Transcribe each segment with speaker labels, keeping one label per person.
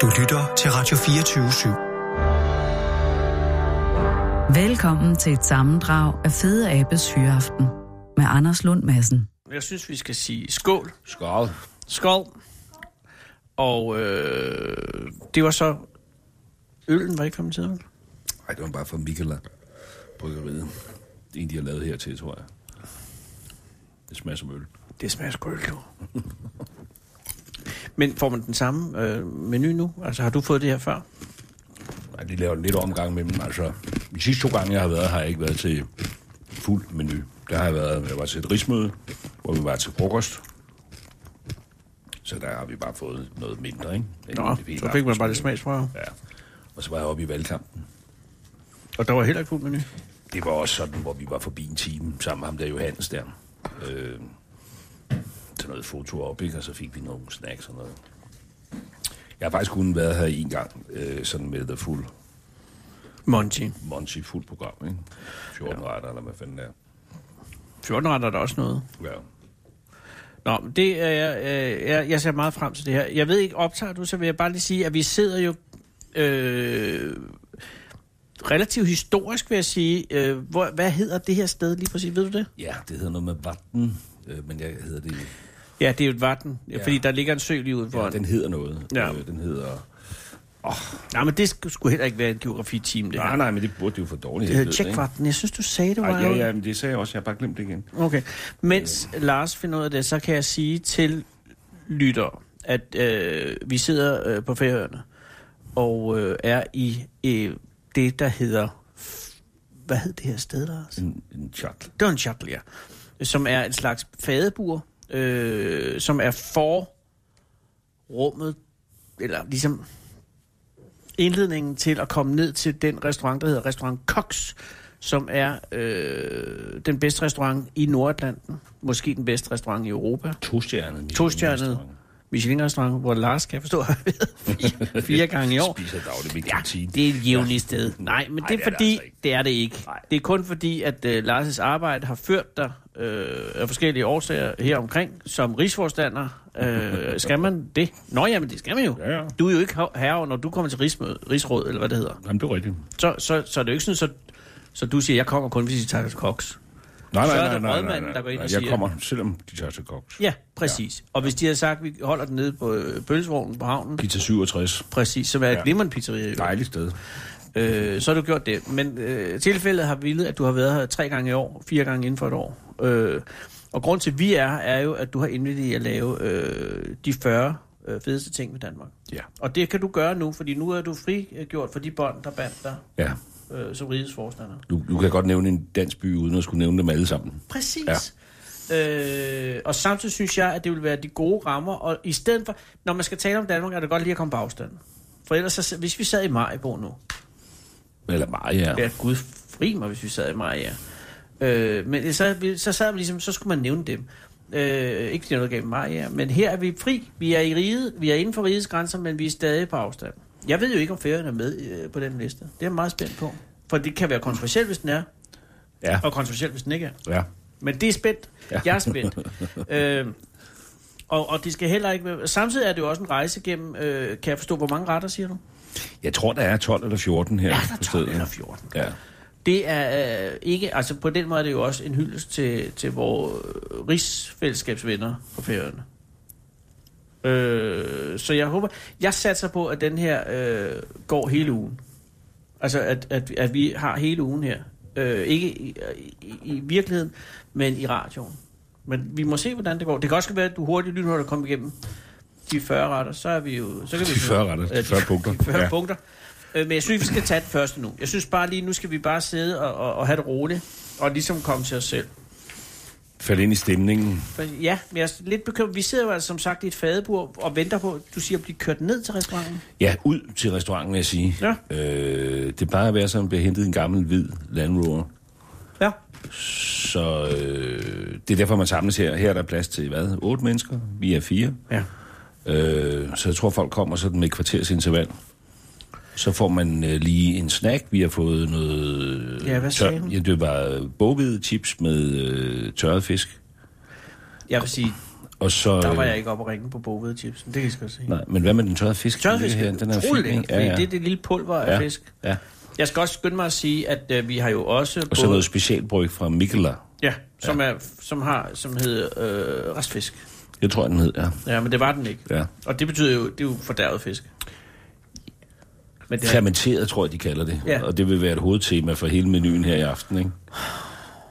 Speaker 1: Du lytter til Radio 24 /7.
Speaker 2: Velkommen til et sammendrag af Fede Abes Hyreaften med Anders Lund Madsen.
Speaker 3: Jeg synes, vi skal sige skål.
Speaker 4: Skål.
Speaker 3: Skål. Og øh, det var så... Øllen var ikke kommet til ham.
Speaker 4: Nej, det var bare fra Mikkeland. Bryggeriet. Det er en, de har lavet her til, tror jeg. Det smager som øl.
Speaker 3: Det smager sgu øl, jo. Men får man den samme øh, menu nu? Altså, har du fået det her før?
Speaker 4: Nej, de laver lidt omgang med dem. Altså, de sidste to gange, jeg har været, har jeg ikke været til fuld menu. Der har jeg været, jeg var til et rigsmøde, hvor vi var til frokost. Så der har vi bare fået noget mindre, ikke? Det er
Speaker 3: Nå,
Speaker 4: en
Speaker 3: så
Speaker 4: hel
Speaker 3: fik man
Speaker 4: aftensmad.
Speaker 3: bare lidt smagsprøve.
Speaker 4: Ja. Og så var jeg oppe i valgkampen.
Speaker 3: Og der var heller ikke fuld menu.
Speaker 4: Det var også sådan, hvor vi var forbi en time sammen med ham der Johannes der. Øh, til noget foto op, ikke? Og så fik vi nogle snacks og noget. Jeg har faktisk kun været her en gang, øh, sådan med the full
Speaker 3: Monty.
Speaker 4: Monty fuld program, ikke? 14 ja. retter, eller hvad fanden det er.
Speaker 3: 14 retter er der også noget.
Speaker 4: Ja.
Speaker 3: Nå, men det er jeg, øh, jeg, jeg ser meget frem til det her. Jeg ved ikke, optager du, så vil jeg bare lige sige, at vi sidder jo øh, relativt historisk, vil jeg sige. Øh, hvor, hvad hedder det her sted lige præcis? Ved du det?
Speaker 4: ja, det hedder noget med vatten, øh, men jeg hedder det...
Speaker 3: Ja, det er jo et vatten, ja.
Speaker 4: Ja.
Speaker 3: fordi der ligger en sø lige ude
Speaker 4: Ja,
Speaker 3: foran. Ja,
Speaker 4: den hedder noget.
Speaker 3: Ja.
Speaker 4: Øh, den hedder...
Speaker 3: Nej, men det sk- skulle heller ikke være en geografitime, det her.
Speaker 4: Nej, nej, men det burde jo for dårligt.
Speaker 3: Det hedder
Speaker 4: ved,
Speaker 3: Tjekvatten. Jeg synes, du sagde, det
Speaker 4: ikke?
Speaker 3: var...
Speaker 4: Ej, ja, ja, men det sagde jeg også. Jeg har bare glemt det igen.
Speaker 3: Okay. Mens øh. Lars finder ud af det, så kan jeg sige til lytter, at øh, vi sidder øh, på færøerne og øh, er i øh, det, der hedder... Hvad hed det her sted, Lars?
Speaker 4: En, en chat.
Speaker 3: Don Chatelier, som er et slags fadebur, øh, som er for rummet, eller ligesom indledningen til at komme ned til den restaurant, der hedder Restaurant Cox, som er øh, den bedste restaurant i Nordatlanten. Måske den bedste restaurant i Europa.
Speaker 4: Tostjernet.
Speaker 3: Tostjernet Michelin-restaurant, hvor Lars, kan jeg forstå, har været fire, fire gange i år.
Speaker 4: Spiser dagligt ved kantinen.
Speaker 3: Det er et jævnligt sted. Nej, men
Speaker 4: Nej,
Speaker 3: det er
Speaker 4: det er det
Speaker 3: fordi,
Speaker 4: altså ikke.
Speaker 3: det er det ikke. Det er kun fordi, at uh, Lars' arbejde har ført dig øh, af forskellige årsager her omkring. Som rigsforstander, øh, skal man det? Nå, jamen det skal man jo.
Speaker 4: Ja, ja.
Speaker 3: Du er jo ikke herre, når du kommer til rigsmøde, rigsråd, eller hvad det hedder.
Speaker 4: Jamen, det er rigtigt.
Speaker 3: Så, så, så er det jo ikke sådan, så, så du siger, jeg kommer kun, hvis I tager til koks.
Speaker 4: Nej,
Speaker 3: Så
Speaker 4: nej,
Speaker 3: er
Speaker 4: nej,
Speaker 3: det
Speaker 4: nej, nej,
Speaker 3: rådmanden,
Speaker 4: nej,
Speaker 3: der går ind og
Speaker 4: nej.
Speaker 3: siger-
Speaker 4: Jeg kommer, selvom de tager til koks.
Speaker 3: Ja, præcis. Ja. Og hvis de havde sagt, at vi holder den nede på øh, pølsevognen på havnen,
Speaker 4: Pizza 67.
Speaker 3: præcis, som er et
Speaker 4: Ja.
Speaker 3: glimrende pizzeria. jo.
Speaker 4: Dejligt sted.
Speaker 3: Øh, så har du gjort det. Men øh, tilfældet har villet, at du har været her tre gange i år, fire gange inden for et år. Øh, og grund til, at vi er her, er jo, at du har indvildet i at lave øh, de 40 øh, fedeste ting ved Danmark.
Speaker 4: Ja.
Speaker 3: Og det kan du gøre nu, fordi nu er du frigjort for de bånd, der bandt dig
Speaker 4: Ja.
Speaker 3: øh, som rigets forstander.
Speaker 4: Du, du kan godt nævne en dansk by, uden at skulle nævne dem alle sammen.
Speaker 3: Præcis. Ja. Øh, og samtidig synes jeg, at det vil være de gode rammer. Og i stedet for, når man skal tale om Danmark, er det godt lige at komme på afstand. For ellers, så, hvis vi sad i Majbo nu,
Speaker 4: Eller meget, ja.
Speaker 3: Ja, gud fri mig, hvis vi sad i Maja. Øh, men så, så sad man ligesom, så skulle man nævne dem. Øh, ikke fordi der er noget galt med Maja, men her er vi fri. Vi er i riget, vi er inden for rigets grænser, men vi er stadig på afstand. Jeg ved jo ikke, om færøerne er med øh, på den liste. Det er jeg meget spændt på. For det kan være kontroversielt, hvis den er,
Speaker 4: Ja.
Speaker 3: og kontroversielt, hvis den ikke er.
Speaker 4: ja.
Speaker 3: Men det er spændt. Ja.
Speaker 4: Ja.
Speaker 3: Jeg er spændt. øh, og, og det skal heller ikke være... Samtidig er det jo også en rejse gennem... Øh, kan jeg forstå, hvor mange retter, siger du?
Speaker 4: Jeg tror, der er 12 eller 14 her
Speaker 3: Ja, der
Speaker 4: på
Speaker 3: er 12
Speaker 4: stedet.
Speaker 3: eller 14.
Speaker 4: Ja.
Speaker 3: Det er øh, ikke, altså på den måde er det jo også en hyldest til, til vores øh, rigsfællesskabsvenner på færøerne. Øh, så jeg håber, jeg satser på, at den her øh, går hele ugen. Altså at, at, at vi har hele ugen her. Øh, ikke i, i, i virkeligheden, men i radioen. Men vi må se, hvordan det går. Det kan også være, at du hurtigt lynhurtigt kommer igennem de 40 retter, så er vi jo... Så kan vi
Speaker 4: De 40 retter,
Speaker 3: Ja,
Speaker 4: de 40 punkter.
Speaker 3: De 40
Speaker 4: Ja.
Speaker 3: punkter. Øh, Men jeg synes, vi skal tage den første nu. Jeg synes bare lige, nu skal vi bare sidde og, og, og have det roligt, og ligesom komme til os selv.
Speaker 4: Fald ind i stemningen.
Speaker 3: For Ja, men jeg er lidt bekymret. Vi sidder jo altså som sagt i et fadebur og venter på, du siger, at blive kørt ned til restauranten.
Speaker 4: Ja, ud til restauranten, vil jeg sige.
Speaker 3: Ja.
Speaker 4: Øh, det plejer at være sådan, at bliver hentet en gammel hvid Land Rover.
Speaker 3: Ja.
Speaker 4: Så øh, det er derfor, man samles her. Her er der plads til, hvad, otte mennesker? Vi er fire.
Speaker 3: Ja.
Speaker 4: Øh, så jeg tror, folk kommer sådan med et kvarters interval. Så får man øh, lige en snack. Vi har fået noget...
Speaker 3: Ja, hvad sagde hun?
Speaker 4: Ja, øh, det var boghvede chips med øh, tørret øh, fisk.
Speaker 3: Jeg vil sige,
Speaker 4: Og så,
Speaker 3: Der var
Speaker 4: øh,
Speaker 3: jeg ikke oppe og ringe på bovede chipsen, det kan jeg sgu godt se.
Speaker 4: Nej, men hvad med den tørrede fisk?
Speaker 3: Tørre fisk
Speaker 4: her, den er
Speaker 3: utrolig
Speaker 4: fin,
Speaker 3: lækker,
Speaker 4: ikke?
Speaker 3: fordi det er det lille pulver af
Speaker 4: ja,
Speaker 3: fisk.
Speaker 4: Ja.
Speaker 3: Jeg skal også skynde mig at sige, at øh, vi har jo også...
Speaker 4: Og så noget specialbryg fra Mikkeler.
Speaker 3: ja, som, Er, som, har, som hedder øh, restfisk.
Speaker 4: Jeg tror, den hed, ja.
Speaker 3: Ja, men det var den ikke.
Speaker 4: ja.
Speaker 3: Og det betyder jo, det er jo fordærvet fisk. Men det er,
Speaker 4: Fermenteret, tror jeg, de kalder det.
Speaker 3: Ja.
Speaker 4: Og det vil være et hovedtema for hele menuen her i aften, ikke?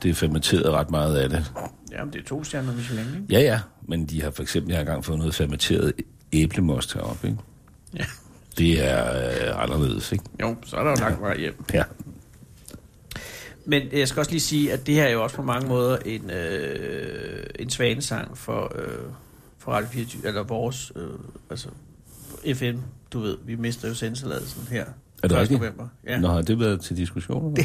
Speaker 4: Det er fermenteret ret meget af det.
Speaker 3: ja, men det er to stjerner Michelin, ikke?
Speaker 4: Ja, ja, men de har for eksempel, jeg har engang fået noget fermenteret æblemost heroppe, ikke?
Speaker 3: Ja.
Speaker 4: Det er øh, anderledes, ikke?
Speaker 3: Jo, så er der jo langt vej hjem.
Speaker 4: Ja.
Speaker 3: Men jeg skal også lige sige, at det her er jo også på mange måder en, øh, en svanesang for, øh, for Radio 24, eller vores, øh, altså FM, du ved, vi mister jo sendtilladelsen her.
Speaker 4: Er det
Speaker 3: 1.
Speaker 4: rigtigt?
Speaker 3: november. Ja,
Speaker 4: Nå, har det været til diskussion? Det...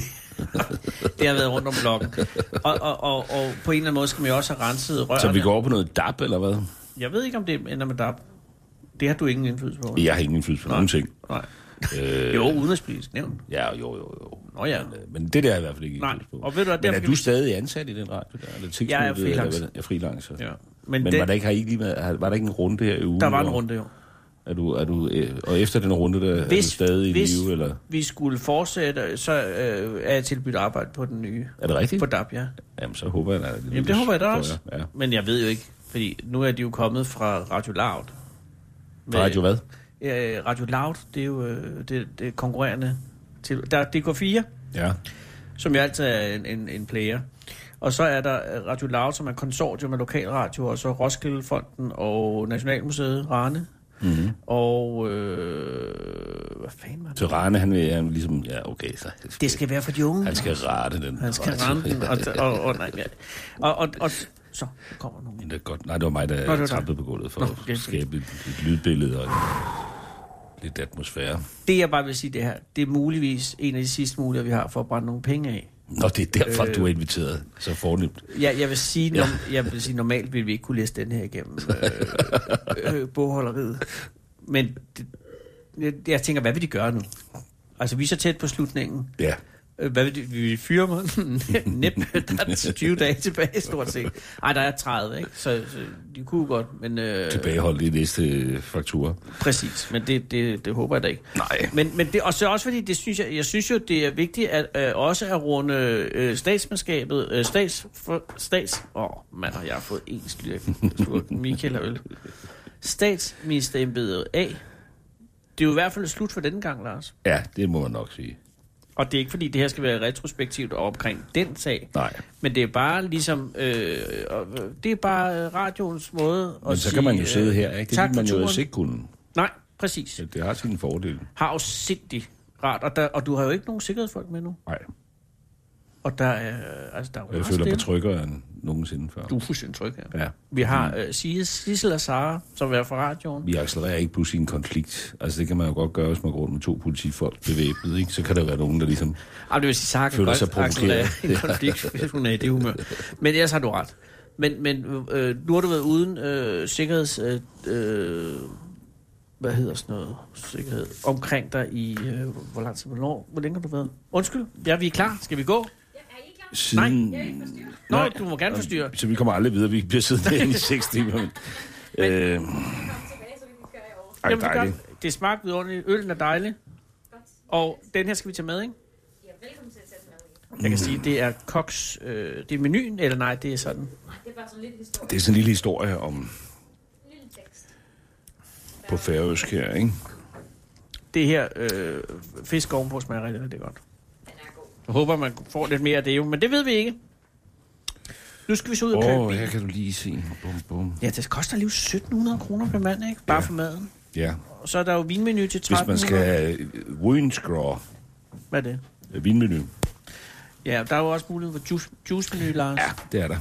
Speaker 3: det har været rundt om blokken. Og, og, og, og på en eller anden måde skal man jo også have renset rørene.
Speaker 4: Så vi går over på noget dab, eller hvad?
Speaker 3: Jeg ved ikke, om det ender med DAP. Det har du ingen indflydelse på.
Speaker 4: Jeg har ingen indflydelse på nogen ting.
Speaker 3: Nej.
Speaker 4: Øh,
Speaker 3: Jo, udenrigspolitisk nævn.
Speaker 4: Ja, jo, jo, jo.
Speaker 3: Nå ja.
Speaker 4: Men, øh, Men det der er i hvert fald ikke
Speaker 3: Nej,
Speaker 4: indflydelse på.
Speaker 3: og ved du hvad,
Speaker 4: Men
Speaker 3: derfor
Speaker 4: er
Speaker 3: kan
Speaker 4: du
Speaker 3: vi-
Speaker 4: stadig ansat i den radio? Der? Eller tilknyttet,
Speaker 3: Jeg er freelancer.
Speaker 4: Eller, ja, freelancer.
Speaker 3: Ja.
Speaker 4: Men,
Speaker 3: Men,
Speaker 4: Men
Speaker 3: den,
Speaker 4: var, der ikke, har I ikke lige været, har- var der ikke en runde her i ugen?
Speaker 3: der var en
Speaker 4: hvor-
Speaker 3: runde jo.
Speaker 4: Er du, er du, øh, og efter den runde, der er du
Speaker 3: Hvis-
Speaker 4: stadig
Speaker 3: hvis-
Speaker 4: i live? Eller,
Speaker 3: Vi skulle fortsætte, så øh, er jeg tilbudt arbejde på den nye.
Speaker 4: er det rigtigt?
Speaker 3: På DAP, ja.
Speaker 4: Jamen, så håber jeg, at det
Speaker 3: Jamen, det håber jeg da
Speaker 4: tror
Speaker 3: også.
Speaker 4: Ja.
Speaker 3: Men jeg ved jo ikke, fordi nu er de jo kommet fra Radio Loud. Med-
Speaker 4: Radio hvad?
Speaker 3: Ja, Radio Loud, det er jo øh, det, det er konkurrerende til... Der er DK4,
Speaker 4: Ja.
Speaker 3: som jo altid er en, en, en player. Og så er der øh, Radio Loud, som er konsortium af lokalradio, og så Roskildefonden og Nationalmuseet Rane. Mm-hmm. Og... Øh, hvad fanden var det?
Speaker 4: Mhm. Så Rane, han vil han vil ligesom, ja, okay, så
Speaker 3: Det skal være for de unge.
Speaker 4: han skal rette den.
Speaker 3: Han skal
Speaker 4: radio.
Speaker 3: ramme den, og,
Speaker 4: Ja,
Speaker 3: og, og, nej, ja. og, og, og, så kommer nogen.
Speaker 4: det er godt. Nej, det var mig,
Speaker 3: var
Speaker 4: der
Speaker 3: dig.
Speaker 4: trampede på gulvet for
Speaker 3: Nå,
Speaker 4: at
Speaker 3: det-
Speaker 4: skabe et, et lydbillede og et- lidt atmosfære.
Speaker 3: Det jeg bare vil sige det her, det er muligvis en af de sidste muligheder, vi har for at brænde nogle penge af.
Speaker 4: Nå, det er derfor, øh... du er inviteret så fornemt.
Speaker 3: Jeg, jeg, vil sige, ja. jeg vil sige, normalt ville vi ikke kunne læse den her igennem øh, øh, bogholderiet. Men det, jeg, jeg tænker, hvad vil de gøre nu? Altså, vi er så tæt på slutningen.
Speaker 4: Ja.
Speaker 3: Øh, Hvad vil de, vi vil fyre mig? Næp, der er 20 dage tilbage, stort set. Ej, der er 30, ikke? Så, så de kunne godt, men... Øh,
Speaker 4: Tilbageholdt i næste øh, faktura.
Speaker 3: Præcis, men det, det, det håber jeg da ikke.
Speaker 4: Nej.
Speaker 3: Men, men det, og så også fordi, det synes jeg, jeg synes jo, det er vigtigt at, øh, også at runde øh, statsmandskabet, øh, stats, for, stats, åh mand, har jeg fået en slurk, slurk Michael og øl. Statsministerembedet af. Det er jo i hvert fald slut for denne gang, Lars.
Speaker 4: Ja, det må man nok sige.
Speaker 3: Og det er ikke fordi, det her skal være retrospektivt og omkring den sag.
Speaker 4: Nej.
Speaker 3: Men det er bare ligesom, øh, og, øh, det er bare øh, radioens måde at
Speaker 4: Men så
Speaker 3: sige,
Speaker 4: kan man jo
Speaker 3: øh,
Speaker 4: sidde her, ikke? Det
Speaker 3: tak
Speaker 4: ville
Speaker 3: for
Speaker 4: man jo
Speaker 3: turen.
Speaker 4: ellers ikke kunne.
Speaker 3: Nej, præcis.
Speaker 4: Ja, Det har sine fordele.
Speaker 3: har afsindig rart. Og, der, og du har jo ikke nogen sikkerhedsfolk med nu.
Speaker 4: Nej,
Speaker 3: Og der er, øh, altså, der er jo
Speaker 4: jeg
Speaker 3: meget
Speaker 4: føler mig
Speaker 3: stille.
Speaker 4: tryggere end nogensinde før.
Speaker 3: Du er fuldstændig tryg her.
Speaker 4: Ja.
Speaker 3: Vi har øh, Sis- Sissel og Sara, som er fra radioen.
Speaker 4: Vi accelererer ikke pludselig en konflikt. Altså, det kan man jo godt gøre, hvis man går rundt med to politifolk bevæbnet, ikke? Så kan der være nogen, der ligesom...
Speaker 3: Ej, det vil sige, Sara kan
Speaker 4: Føler sig
Speaker 3: godt
Speaker 4: provokeret.
Speaker 3: accelerere en konflikt, hvis hun er i det humør. Men ellers har du ret. Men, men øh, nu har du været uden øh, sikkerheds... Øh, øh, hvad hedder sådan noget? Sikkerhed. Omkring dig i... Øh, hvor lang tid? Hvornår? Hvor længe har du været? Undskyld. Ja, vi er klar. Skal vi gå?
Speaker 4: Siden...
Speaker 3: Nå, Nej. du må gerne forstyrre.
Speaker 4: Så vi kommer aldrig videre. Vi bliver siddende herinde i seks timer. Men... Øh... Ej,
Speaker 3: Jamen, det, er
Speaker 4: dejligt.
Speaker 3: godt. det smagte vidunderligt. Øllen er dejlig. Og den her skal vi tage med, ikke?
Speaker 5: Ja, velkommen til at sætte mad i.
Speaker 3: Jeg kan sige, det er koks... Øh, det er menuen, eller nej, det er sådan.
Speaker 5: Det er bare sådan lidt historie.
Speaker 4: Det er sådan en lille historie om
Speaker 5: En lille tekst.
Speaker 4: på færøsk her, ikke?
Speaker 3: Det her øh, fisk ovenpå smager rigtig, rigtig godt.
Speaker 5: Den er god.
Speaker 3: Jeg håber, man får lidt mere af det jo, men det ved vi ikke. Nu skal vi så ud og købe
Speaker 4: Åh, oh,
Speaker 3: bil.
Speaker 4: her kan du lige se. Bum, bum.
Speaker 3: Ja, det koster lige 1700 kroner per mand, ikke? Bare ja. for maden.
Speaker 4: Ja,
Speaker 3: Og så er der jo vinmenu til 13.
Speaker 4: hvis man skal have øh, winscraw,
Speaker 3: Hvad er det?
Speaker 4: øh, vinmenu.
Speaker 3: Ja, der er jo også mulighed for juice, juice-menu, Lars. Ja.
Speaker 4: Det er der.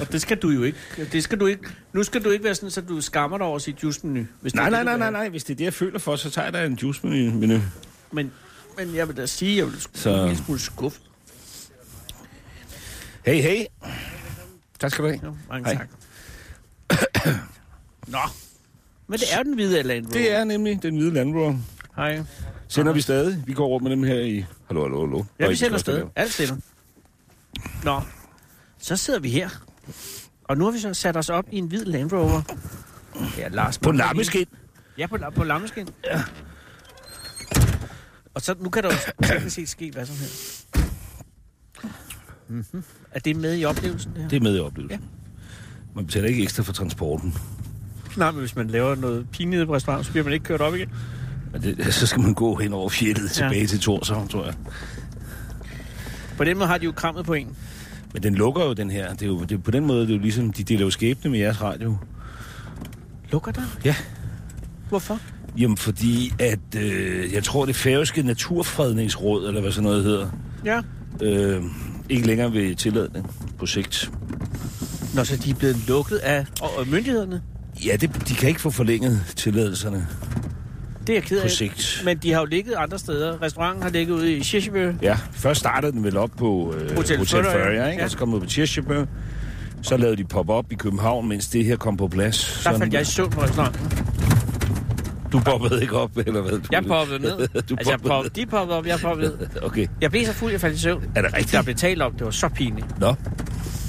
Speaker 3: Og det skal du jo ikke. Det skal du ikke. Nu skal du ikke være sådan, så du skammer dig over at sige juice-menu. hvis det er
Speaker 4: Nej,
Speaker 3: det, du
Speaker 4: nej, nej,
Speaker 3: vil
Speaker 4: nej,
Speaker 3: have.
Speaker 4: nej. Hvis det er det, jeg føler for, så tager jeg da en juice-menu.
Speaker 3: Men, men jeg vil da sige, at jeg vil
Speaker 4: Så-
Speaker 3: så... en lille smule skuffe.
Speaker 4: Hey, hey. Tak skal du have.
Speaker 3: Jo, mange
Speaker 4: Hej.
Speaker 3: tak. Nå. Men det er den hvide Land Rover.
Speaker 4: Det er nemlig den hvide Land Rover.
Speaker 3: Hej.
Speaker 4: Sender vi stadig. Vi går rundt med dem her i... Hallo, hallo, hallo.
Speaker 3: Ja,
Speaker 4: Og
Speaker 3: vi
Speaker 4: i
Speaker 3: sender
Speaker 4: Klosterland.
Speaker 3: afsted. Alt stille. Nå. Så sidder vi her. Og Og nu har vi så sat os op i en hvid Land Rover. Ja, Lars.
Speaker 4: På
Speaker 3: Bak-
Speaker 4: lammeskin.
Speaker 3: Ja, på, la- på lammeskin. Ja. Og så, nu kan der jo teknisk set ske hvad som helst. Mm-hmm. Er det med i oplevelsen, det her?
Speaker 4: Det er med i oplevelsen. Man betaler ikke ekstra for transporten.
Speaker 3: Nej, men hvis man laver noget pinligt på restaurant, så bliver man ikke kørt op igen.
Speaker 4: Men det, så skal man gå hen over fjellet tilbage til Torshavn, tror jeg.
Speaker 3: På den måde har de jo krammet på en.
Speaker 4: Men den lukker jo, den her. Det er jo, det, er- på den måde, det er jo ligesom, de deler jo skæbne med jeres radio.
Speaker 3: Lukker der?
Speaker 4: Ja.
Speaker 3: Hvorfor?
Speaker 4: Jamen, fordi at, øh, jeg tror, det færøske naturfredningsråd, eller hvad sådan noget hedder,
Speaker 3: Ja.
Speaker 4: øh, ikke længere vil tillade den på sigt.
Speaker 3: Nå, så de er blevet lukket af og, og myndighederne.
Speaker 4: Ja, det, de kan ikke få forlænget tilladelserne
Speaker 3: Det er jeg ked af.
Speaker 4: på sigt.
Speaker 3: Men de har jo ligget andre steder. Restauranten har ligget ude i Shishibø.
Speaker 4: Ja, først startede den vel op på øh,
Speaker 3: Hotel
Speaker 4: Hotel, Hotel
Speaker 3: Føller,
Speaker 4: Føller, ikke?
Speaker 3: ja.
Speaker 4: Ja. Og så kom den ud på Tirsjebø. Så lavede de pop-up i København, mens det her kom på plads.
Speaker 3: Der faldt jeg i søvn på restauranten.
Speaker 4: Du poppede ikke op, eller hvad? Du-
Speaker 3: Jeg poppede ned.
Speaker 4: du
Speaker 3: altså, jeg
Speaker 4: poppede
Speaker 3: poppede, de poppede op, jeg poppede ned.
Speaker 4: ned. Okay,
Speaker 3: Jeg blev så fuld, jeg faldt i søvn.
Speaker 4: er det rigtigt?
Speaker 3: Der blev talt om, det var så pinligt.
Speaker 4: Nå,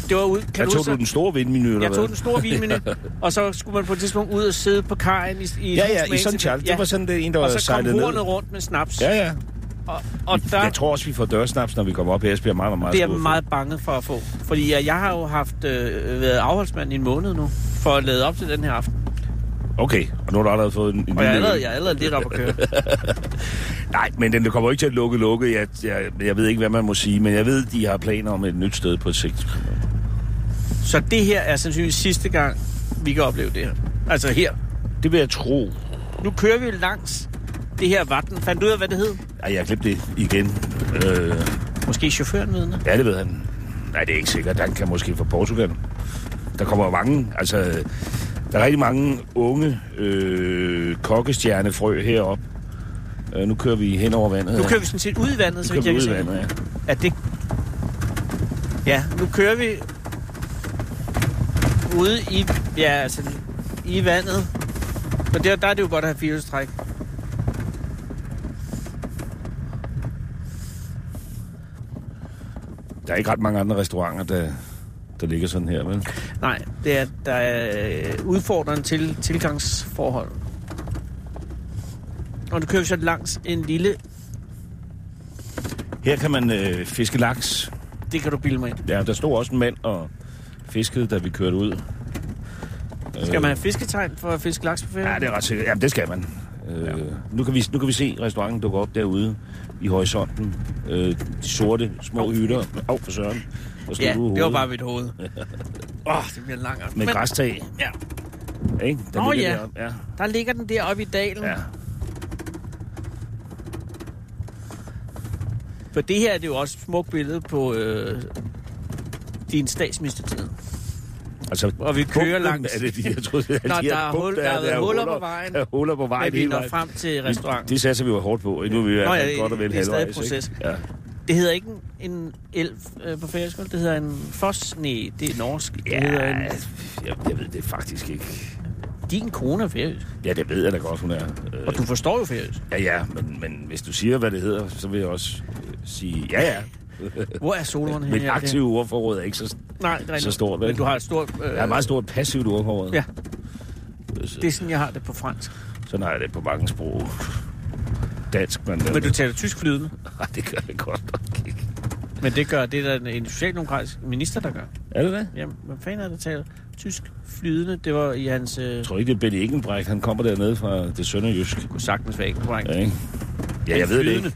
Speaker 3: Det var ude, kan
Speaker 4: der
Speaker 3: du
Speaker 4: tog
Speaker 3: huske
Speaker 4: du den store vindmenu, eller
Speaker 3: Jeg
Speaker 4: hvad?
Speaker 3: tog den store vinmenu, og så skulle man på et tidspunkt ud og sidde på kajen i, i
Speaker 4: Ja, ja,
Speaker 3: Husmane
Speaker 4: i sådan
Speaker 3: til-
Speaker 4: Charles. Ja. Det var sådan det en, der
Speaker 3: og
Speaker 4: var
Speaker 3: så kom
Speaker 4: sejlet ned.
Speaker 3: hornet rundt med snaps.
Speaker 4: Ja, ja.
Speaker 3: Og, og der,
Speaker 4: Jeg tror også, vi får dørsnaps, når vi kommer op her. Jeg bliver meget, meget, meget
Speaker 3: det er jeg
Speaker 4: skuffet.
Speaker 3: meget bange for at få. Fordi jeg, jeg har jo haft øh, været afholdsmand i en måned nu, for at lade op til den her aften.
Speaker 4: Okay, og nu har du allerede fået en, en
Speaker 3: Og jeg er
Speaker 4: lille øl.
Speaker 3: allerede, jeg er allerede lidt op at køre.
Speaker 4: Nej, men den kommer ikke til at lukke, lukke. Jeg, jeg, jeg ved ikke, hvad man må sige, men jeg ved, de har planer om et nyt sted på et sigt.
Speaker 3: Så det her er sandsynligvis sidste gang, vi kan opleve det her. Altså her.
Speaker 4: Det vil jeg tro.
Speaker 3: Nu kører vi jo langs det her vatten. Fandt du ud af, hvad det hed?
Speaker 4: Ej, jeg har glemt det igen. Øh,
Speaker 3: Måske chaufføren vidne.
Speaker 4: ja, det ved han. Nej, det er ikke sikkert. Han kan måske fra Portugal. Der kommer jo mange, altså... Der er rigtig mange unge øh, kokkestjernefrø heroppe. Øh, nu kører vi hen over vandet.
Speaker 3: Nu kører vi sådan set ud i vandet, så
Speaker 4: nu
Speaker 3: vidt jeg
Speaker 4: kører vi
Speaker 3: kan
Speaker 4: ud
Speaker 3: se.
Speaker 4: i vandet, ja.
Speaker 3: at det... Ja, nu kører vi ude i, ja, altså, i vandet. Og der, der er det jo godt at have firehjulstræk.
Speaker 4: Der er ikke ret mange andre restauranter, der, der ligger sådan her, vel?
Speaker 3: Nej, det er, der er øh, udfordrende til tilgangsforhold. Og nu kører vi så langs en lille...
Speaker 4: Her kan man øh, fiske laks.
Speaker 3: Det kan du bilde mig ind.
Speaker 4: Ja, der stod også en mand og fiskede, da vi kørte ud.
Speaker 3: Skal man have fisketegn for at fiske laks på ferien?
Speaker 4: Ja, det er ret sikkert. Jamen, det skal man. Øh, ja. nu, kan vi, nu kan vi se restauranten dukke op derude i horisonten. Øh, de sorte små hytter. Åh, for søren. Der slog
Speaker 3: ja,
Speaker 4: du hovedet.
Speaker 3: det var bare mit hoved. Åh, oh, det bliver en lang aften.
Speaker 4: Med græstag.
Speaker 3: Ja.
Speaker 4: Ikke? Der
Speaker 3: Nå,
Speaker 4: ligger
Speaker 3: ja.
Speaker 4: deroppe. ja.
Speaker 3: Der ligger den deroppe i dalen.
Speaker 4: Ja.
Speaker 3: For det her er det jo også et smukt billede på øh, din statsministertid.
Speaker 4: Altså,
Speaker 3: Og vi kører
Speaker 4: bumpen
Speaker 3: langs.
Speaker 4: Er det, de, jeg troede, at
Speaker 3: Nå,
Speaker 4: de
Speaker 3: der er hul-
Speaker 4: bump,
Speaker 3: der har været huller på vejen.
Speaker 4: Der er huller på vejen.
Speaker 3: Men vi
Speaker 4: hele
Speaker 3: når
Speaker 4: vejen.
Speaker 3: frem til restauranten. Det,
Speaker 4: Det satser vi jo hårdt på. ikke? Nu er vi i hvert
Speaker 3: Nå,
Speaker 4: fald
Speaker 3: ja,
Speaker 4: godt og vel
Speaker 3: det er stadig
Speaker 4: halvvejs, ikke?
Speaker 3: proces.
Speaker 4: Ja.
Speaker 3: det hedder ikke en- en elv øh, på færøsk, vel? det hedder en fos. Nej, det er norsk. Det
Speaker 4: Ja,
Speaker 3: hedder en...
Speaker 4: jeg, jeg ved det faktisk ikke.
Speaker 3: Din kone er færøsk.
Speaker 4: Ja, det ved jeg da godt, hun er. Øh,
Speaker 3: Og du forstår jo færøsk.
Speaker 4: ja, ja, men, men hvis du siger, hvad det hedder, så vil jeg også øh, sige, ja, ja.
Speaker 3: Hvor er solvåren henne?
Speaker 4: Men
Speaker 3: her?
Speaker 4: aktive ordforråd er ikke så...
Speaker 3: Nej, det er
Speaker 4: så
Speaker 3: ikke.
Speaker 4: stort, vel?
Speaker 3: Men du har et stort... Øh,
Speaker 4: Jeg har et meget stort passivt ordforråd. Øh,
Speaker 3: Ja.
Speaker 4: Så-
Speaker 3: Det er sådan, jeg har det på fransk.
Speaker 4: Sådan har jeg det på mange sprog. Dansk, men...
Speaker 3: Men du taler tysk flydende.
Speaker 4: Nej, det gør jeg godt nok ikke.
Speaker 3: Men det gør det, er der en socialdemokratisk minister, der gør.
Speaker 4: Er det det?
Speaker 3: Jamen, hvad fanden er det, der taler tysk flydende? Det var i hans... Øh,
Speaker 4: Jeg tror ikke, det er Benny Ingenbrecht. Han kommer dernede fra det sønderjysk.
Speaker 3: kunne sagtens være ikke korrekt.
Speaker 4: Ja, ikke? ja jeg ved det ikke.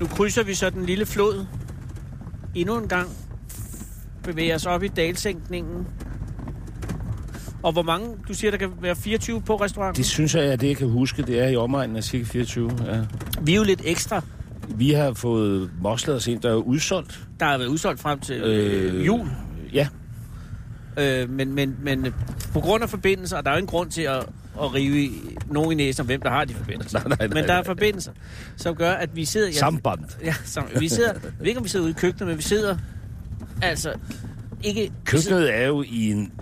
Speaker 3: Nu krydser vi så den lille flod endnu en gang. Bevæger os op i dalsænkningen. Og hvor mange, du siger, der kan være 24 på restauranten?
Speaker 4: Det synes jeg, at det, jeg kan huske, det er i omegnen af cirka 24. Ja.
Speaker 3: Vi er jo lidt ekstra.
Speaker 4: Vi har fået moslet os ind, der er udsolgt.
Speaker 3: Der har været udsolgt frem til øh, jul.
Speaker 4: Ja,
Speaker 3: Øh, men, men, men øh, på grund af forbindelser, og der er jo ingen grund til at, at rive i, nogen i næsen om, hvem der har de forbindelser.
Speaker 4: Nej, nej, nej,
Speaker 3: men der er
Speaker 4: nej.
Speaker 3: forbindelser, som gør, at vi sidder...
Speaker 4: samband.
Speaker 3: Ja, som, vi sidder, jeg ved ikke, om vi sidder ude i køkkenet, men vi sidder altså ikke...
Speaker 4: Køkkenet er jo i en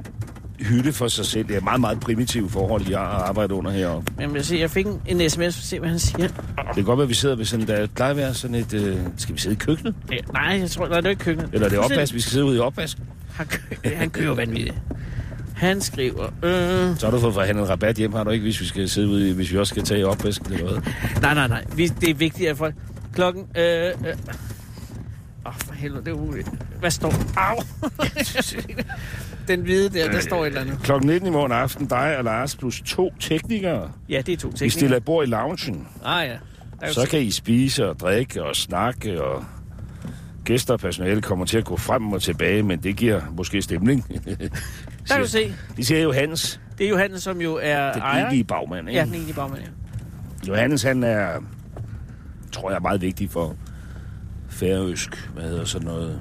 Speaker 4: hytte for sig selv. Det er meget, meget primitive forhold, jeg arbejder under heroppe.
Speaker 3: Jamen, jeg, ser, jeg fik en, en sms, for se, hvad han siger.
Speaker 4: Det kan godt være, at vi sidder ved sådan, der plejer at være sådan et... Øh, skal vi sidde i køkkenet?
Speaker 3: Ja, nej, jeg tror, nej, det er ikke køkkenet.
Speaker 4: Eller er det
Speaker 3: Prøv at se.
Speaker 4: opvask? Vi skal sidde ude i opvask.
Speaker 3: Han, kø- han kører vanvittigt. Han skriver, øh,
Speaker 4: Så har du fået forhandlet rabat hjem, har du ikke, hvis vi skal sidde ude i, hvis vi også skal tage i opvasken eller hvad?
Speaker 3: nej, nej, nej, vi, det er vigtigt, at folk... Klokken, øh, øh. Åh, for helvede, det er umuligt. Hvad står Au! Den hvide der, der står et eller andet.
Speaker 4: Klokken 19 i morgen aften, dig og Lars plus to teknikere.
Speaker 3: Ja, det er to
Speaker 4: Vi
Speaker 3: ting.
Speaker 4: stiller bord i loungen.
Speaker 3: Ah, ja. Der er jo
Speaker 4: Så kan I spise og drikke og snakke og... Gæster og personale kommer til at gå frem og tilbage, men det giver måske stemning.
Speaker 3: Der kan du se,
Speaker 4: De siger Johannes,
Speaker 3: det er Johannes, som jo er
Speaker 4: den
Speaker 3: ejer.
Speaker 4: egentlige bagmand, ikke?
Speaker 3: Ja, den egentlige bagmand, ja.
Speaker 4: Johannes, han er, tror jeg, er meget vigtig for færøsk, hvad hedder sådan noget,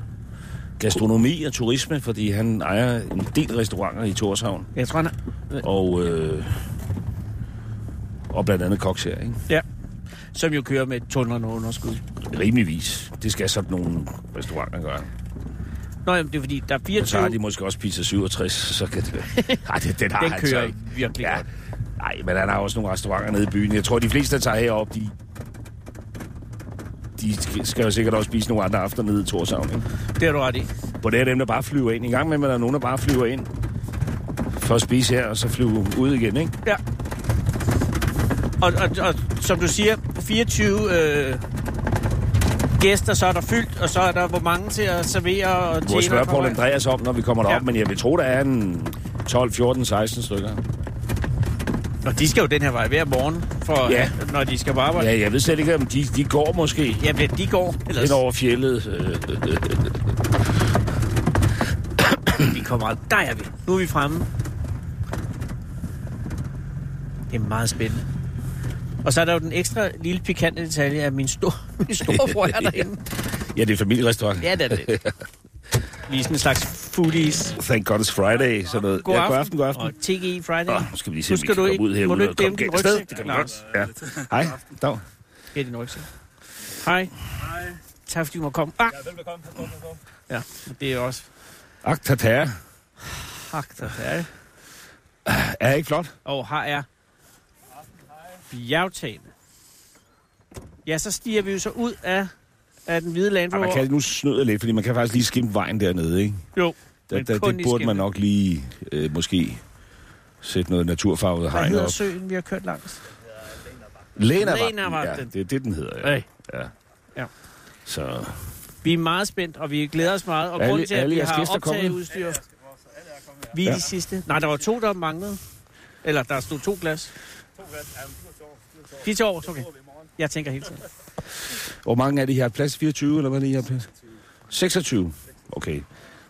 Speaker 4: gastronomi og turisme, fordi han ejer en del restauranter i Torshavn,
Speaker 3: Jeg tror, han er...
Speaker 4: og, øh, og blandt andet koks her, ikke?
Speaker 3: Ja. Som jo kører med et tundrende underskud.
Speaker 4: Rimeligvis. Det skal sådan nogle restauranter gøre.
Speaker 3: Nå, jamen, det er fordi, der er
Speaker 4: Men så har
Speaker 3: 24...
Speaker 4: de måske også pizza 67, så kan det... Nej, det, den har
Speaker 3: Den
Speaker 4: han så
Speaker 3: kører
Speaker 4: ikke.
Speaker 3: virkelig
Speaker 4: altså. Ja.
Speaker 3: godt.
Speaker 4: Nej, men han har også nogle restauranter nede i byen. Jeg tror, de fleste, der tager herop, de, de skal jo sikkert også spise nogle andre aftener nede i Torshavn. Ikke?
Speaker 3: Det har du ret i.
Speaker 4: På det er dem, der bare flyver ind. I gang med, at der er nogen, der bare flyver ind for at spise her, og så flyve ud igen, ikke?
Speaker 3: Ja. Og, og, og som du siger, på 24 øh, gæster, så er der fyldt, og så er der hvor mange til at servere og
Speaker 4: Du har
Speaker 3: tjenere
Speaker 4: spørge
Speaker 3: kommer
Speaker 4: Paul
Speaker 3: ind.
Speaker 4: Andreas om, når vi kommer derop,
Speaker 3: Ja.
Speaker 4: ja. men jeg vil tro, der er en 12, 14, 16 stykker.
Speaker 3: Og de skal jo den her vej hver morgen, for,
Speaker 4: Ja.
Speaker 3: ja. når de skal på arbejde. Ja.
Speaker 4: Ja, jeg ved slet ikke, om de, de går måske
Speaker 3: Jamen, de går, ellers
Speaker 4: ind over fjellet. Øh, øh, øh.
Speaker 3: vi kommer aldrig. Der er vi. Nu er vi fremme. Det er meget spændende. Og så er der jo den ekstra lille pikante detalje af min, stor, min storebror er derinde.
Speaker 4: Ja, det er familierestaurant.
Speaker 3: Ja, det er det. Lige sådan en slags foodies.
Speaker 4: Thank God it's Friday, sådan noget.
Speaker 3: God,
Speaker 4: ja, god aften, god aften.
Speaker 3: Og TGI Friday.
Speaker 4: Åh, nu skal vi lige se,
Speaker 3: Nu
Speaker 4: om vi
Speaker 3: skal
Speaker 4: kan
Speaker 3: du
Speaker 4: komme
Speaker 3: ikke-
Speaker 4: ud her.
Speaker 3: må
Speaker 4: uden
Speaker 3: du
Speaker 4: at
Speaker 3: ikke dæmpe
Speaker 4: komme galt
Speaker 3: din
Speaker 4: afsted.
Speaker 3: rygsæk,
Speaker 4: Det kan
Speaker 3: Lars?
Speaker 4: man godt. Ja. Hej, dag.
Speaker 3: Her er din rygsæk. Hej. Tak fordi du må komme. Ah,
Speaker 6: Velbekomme.
Speaker 3: ja, det er også...
Speaker 4: Ak, tatara.
Speaker 3: Fuck, der er det.
Speaker 4: Er ikke flot?
Speaker 3: Og her er... Bjergtagene. Ja, så stiger vi jo så ud af, af den hvide Land
Speaker 4: Ej, man
Speaker 3: Rover.
Speaker 4: kan, nu snyder jeg lidt, fordi man kan faktisk lige skimpe vejen dernede, ikke?
Speaker 3: Jo,
Speaker 4: Der,
Speaker 3: men
Speaker 4: der,
Speaker 3: kun
Speaker 4: det
Speaker 3: i
Speaker 4: burde man
Speaker 3: skimpe.
Speaker 4: nok lige, øh, måske, sætte noget naturfarvet
Speaker 3: Hvad
Speaker 4: hegn
Speaker 3: hedder
Speaker 4: op.
Speaker 3: søen, vi har kørt langs?
Speaker 4: Lænervagten. Ja,
Speaker 3: Lænervagten.
Speaker 4: det er det, den hedder. Ja.
Speaker 3: Hey.
Speaker 4: ja.
Speaker 3: Ja.
Speaker 4: Så
Speaker 3: Vi er meget spændt, og vi glæder os meget. Og
Speaker 4: Alle-
Speaker 3: grunden til, at
Speaker 4: alle
Speaker 3: vi
Speaker 4: jeres
Speaker 3: har
Speaker 4: gæster kommet?
Speaker 3: optageudstyr, vi er
Speaker 4: Ja.
Speaker 3: de sidste. Nej, der var to, der manglede. Eller der stod to glas. De to år, okay. Jeg tænker hele tiden.
Speaker 4: Hvor mange er det, I har plads? 24, eller hvad er det, I har plads? 26. Okay.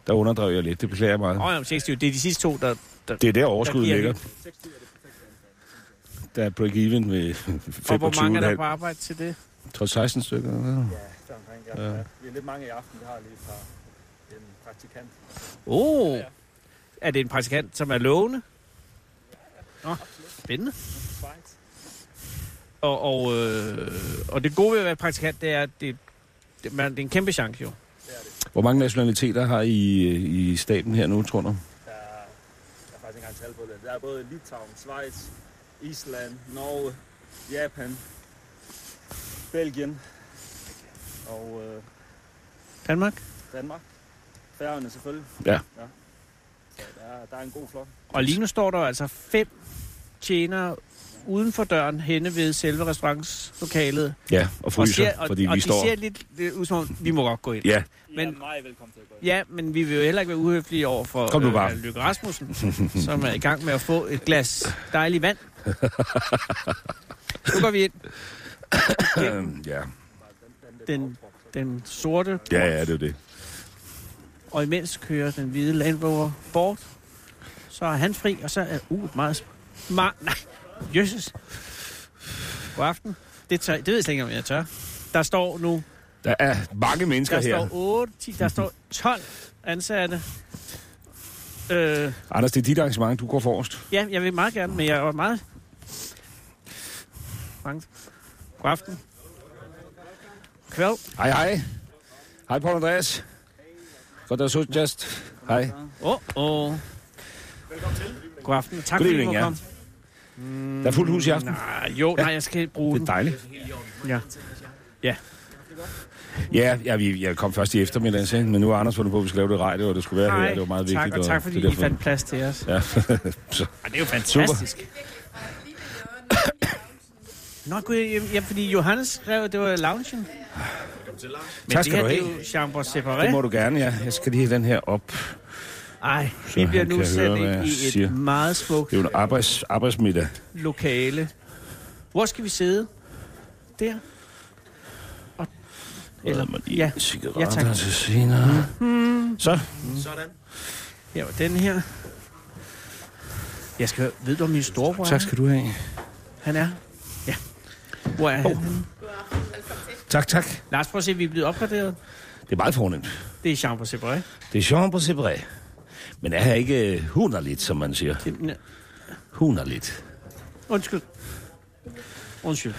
Speaker 4: Der underdrev jeg lidt. Det beklager jeg meget.
Speaker 3: Åh, oh, 26. Det er de sidste to, der... der
Speaker 4: Det er der overskuddet
Speaker 3: Der
Speaker 4: ligger.
Speaker 3: giver
Speaker 4: Der er break-even med
Speaker 3: og hvor mange er der
Speaker 4: 25,5.
Speaker 3: på arbejde til det?
Speaker 4: 12-16 stykker. eller hvad?
Speaker 6: Ja, omkring, ja. ja. Vi er lidt mange i aften. Vi har lige et par en praktikant.
Speaker 3: Oh, er det en praktikant, som er lovende? Nå, spændende. Og, og, øh, og det gode ved at være praktikant, det er, at det, det, man, det er en kæmpe chance jo.
Speaker 4: Hvor mange nationaliteter har I øh, i staben her nu, tror du?
Speaker 6: Der er, der er faktisk ikke engang tal på det. Der er både Litauen, Schweiz, Island, Norge, Japan, Belgien og øh,
Speaker 3: Danmark?
Speaker 6: Danmark. Færøerne selvfølgelig.
Speaker 4: Ja.
Speaker 6: ja. Så der, er, der er en god flok.
Speaker 3: Og lige nu står der jo altså fem tjenere uden for døren henne ved selve restaurantslokalet.
Speaker 4: Ja, og
Speaker 3: og
Speaker 4: fryser,
Speaker 3: og,
Speaker 4: fordi
Speaker 3: og
Speaker 4: vi
Speaker 3: de
Speaker 4: står...
Speaker 3: ser lidt øh, ud som om, vi må godt gå ind.
Speaker 4: Ja,
Speaker 6: I
Speaker 3: Men-
Speaker 6: er meget velkommen til at gå ind.
Speaker 3: Ja, men vi vil jo heller ikke være uhøflige over for
Speaker 4: Kom nu bare.
Speaker 3: Øh, Lykke Rasmussen, som er i gang med at få et glas dejlig vand. nu går vi ind.
Speaker 4: øhm, ja,
Speaker 3: Den, den sorte,
Speaker 4: ja, ja, det er jo det.
Speaker 3: og imens kører den hvide Land Rover bort. Så er han fri, og så er... Uh, meget... sp- Ma- nej, jøsses. God aften. Det, tør, det ved jeg slet ikke, om jeg tør. Der står nu...
Speaker 4: Der er mange mennesker
Speaker 3: Der står
Speaker 4: her.
Speaker 3: 8, 10, der står 12 ansatte. Øh,
Speaker 4: Anders, det er dit arrangement. Du går forrest.
Speaker 3: Ja, jeg vil meget gerne, men jeg var meget... Mange. God aften. Kvæl.
Speaker 4: Hej, hej. Hej, Paul Andreas. Godt, der så just. Hej.
Speaker 3: Åh, oh, åh. Oh. God aften. og Tak fordi
Speaker 4: Good
Speaker 3: du
Speaker 4: evening,
Speaker 3: måtte
Speaker 4: ja.
Speaker 3: komme.
Speaker 4: Der er fuldt hus i aften.
Speaker 3: Nej, jo, nej, jeg skal bruge
Speaker 4: Det
Speaker 3: den.
Speaker 4: er dejligt.
Speaker 3: Ja.
Speaker 4: Ja, ja vi, jeg kom først i eftermiddag, så, men nu har Anders fundet på, at vi skal lave det radio, og det skulle være her.
Speaker 3: Hej,
Speaker 4: Det var meget
Speaker 3: tak,
Speaker 4: vigtigt.
Speaker 3: og tak fordi
Speaker 4: det er
Speaker 3: I fandt plads til os.
Speaker 4: Ja,
Speaker 3: Ej, det er jo fantastisk. Nå, gud, jeg, jeg, fordi Johannes skrev, at det var loungen. Men
Speaker 4: Tak skal
Speaker 3: det her,
Speaker 4: du have.
Speaker 3: det er jo chambre
Speaker 4: det må
Speaker 3: séparé.
Speaker 4: du gerne, ja. Jeg skal lige have den her op.
Speaker 3: Ej,
Speaker 4: Så
Speaker 3: vi bliver
Speaker 4: han
Speaker 3: nu
Speaker 4: kan
Speaker 3: sat
Speaker 4: høre, hvad
Speaker 3: ind
Speaker 4: jeg
Speaker 3: i et
Speaker 4: siger.
Speaker 3: meget smukt
Speaker 4: Det er jo en arbejds, arbejdsmiddag.
Speaker 3: lokale. Hvor skal vi sidde? Der? Og, eller, ja, ja
Speaker 4: Cigaretter
Speaker 3: tak. Mm-hmm.
Speaker 4: til senere. Så,
Speaker 3: Ja, og den her. Jeg skal høre, ved du, om min storebror
Speaker 4: tak skal du have.
Speaker 3: han er? Ja. Hvor er han? henne?
Speaker 4: Tak, tak.
Speaker 3: Lars, prøv at se, vi er blevet opgraderet.
Speaker 4: Det er meget fornemt.
Speaker 3: Det er chambre séparé.
Speaker 4: Det er Jean på Sebré. Men er her ikke øh, hunderligt, som man siger?
Speaker 3: Det- nej,
Speaker 4: Hunderligt.
Speaker 3: Undskyld. Undskyld.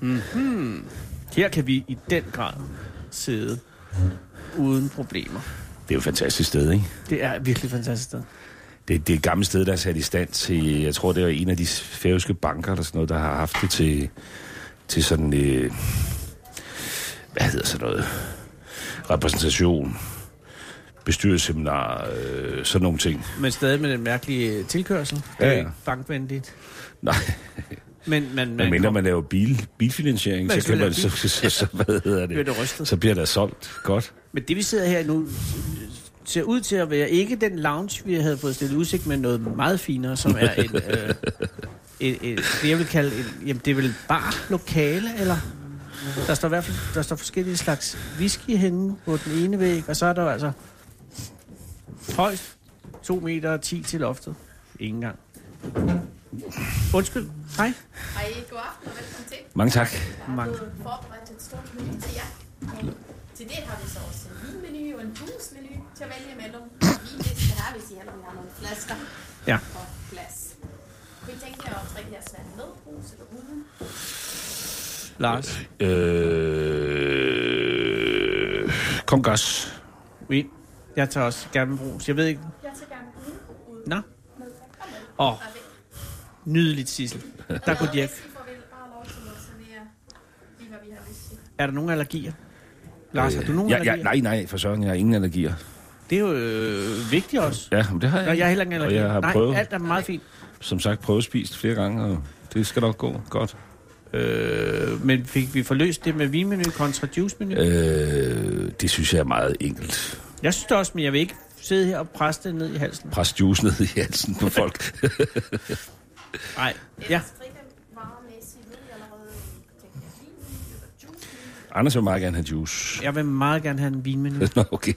Speaker 3: Mm-hmm. Her kan vi i den grad sidde uden problemer.
Speaker 4: Det er jo et fantastisk sted, ikke?
Speaker 3: Det er virkelig fantastisk sted.
Speaker 4: Det, det er et gammelt sted, der er sat i stand til, jeg tror, det var en af de færøske banker, eller sådan noget, der har haft det til, til sådan, øh, hvad hedder sådan noget, repræsentation, bestyrelsesseminar, øh, sådan nogle ting.
Speaker 3: Men stadig med den mærkelige tilkørsel. Det er
Speaker 4: Ja, ja.
Speaker 3: ikke bankvenligt.
Speaker 4: Nej,
Speaker 3: Men man,
Speaker 4: men
Speaker 3: man
Speaker 4: mindre man laver bil, bilfinansiering,
Speaker 3: Men
Speaker 4: så, kan man,
Speaker 3: selvfølgelig
Speaker 4: så, så, så, så, hvad hedder
Speaker 3: bliver
Speaker 4: det,
Speaker 3: det rystet.
Speaker 4: så bliver der solgt godt.
Speaker 3: Men det, vi sidder her nu, ser ud til at være ikke den lounge, vi havde fået stillet udsigt, men noget meget finere, som er en, øh, en, en det, jeg vil kalde, en, jamen, det er vel bar lokale, eller? Der står i hvert fald der står forskellige slags whisky henne på den ene væg, og så er der jo altså højst 2 meter og 10 til loftet. Ingen gang. Undskyld. Hej.
Speaker 7: Hej, god aften og velkommen til.
Speaker 4: Mange tak.
Speaker 7: Jeg har
Speaker 3: Mange.
Speaker 7: fået forberedt et stort menu til jer. Og til det har vi så også en vinmenu og en husmenu til at vælge imellem. Vinliste her, hvis I hellere vil have nogle flasker
Speaker 3: Ja.
Speaker 7: og glas. Kunne I tænke jer at drikke jeres vand med brus eller uden?
Speaker 3: Lars.
Speaker 4: Øh, kom gas.
Speaker 3: Min. Jeg tager også gerne brus. Jeg ved ikke.
Speaker 7: Jeg tager gerne uden. uden.
Speaker 3: Nå.
Speaker 7: Med og med.
Speaker 3: Åh,
Speaker 7: Og væk.
Speaker 3: nydeligt, Sissel. Der kunne de
Speaker 7: Og
Speaker 3: ikke.
Speaker 7: hvis I får vel bare lov til at servere lige hvad vi har lyst til.
Speaker 3: Er der nogen allergier? Lars, har du nogen
Speaker 4: Øh, ja,
Speaker 3: allergier?
Speaker 4: ja, nej, nej, for søren, jeg har ingen allergier.
Speaker 3: Det er jo øh, vigtigt også.
Speaker 4: Ja, men det har jeg
Speaker 3: Nå,
Speaker 4: ikke.
Speaker 3: jeg har heller ikke
Speaker 4: Og
Speaker 3: allergier.
Speaker 4: jeg har
Speaker 3: Nej,
Speaker 4: prøvet.
Speaker 3: alt er meget fint.
Speaker 4: som sagt prøvespist flere gange, og det skal nok gå godt.
Speaker 3: Øh, men fik vi forløst det med vinmenu kontra juicemenu? Øh.
Speaker 4: Øh, det synes jeg er meget enkelt.
Speaker 3: Jeg synes det også, men jeg vil ikke sidde her og presse det ned i halsen.
Speaker 4: Pres juice ned i halsen på folk.
Speaker 3: Nej, ja.
Speaker 7: Ellers drikker varemæssigt ved I allerede, tænker jeg, vinmenu eller juicemenu.
Speaker 4: Anders vil meget gerne have juice.
Speaker 3: Jeg vil meget gerne have en vinmenu,
Speaker 4: Nå, okay.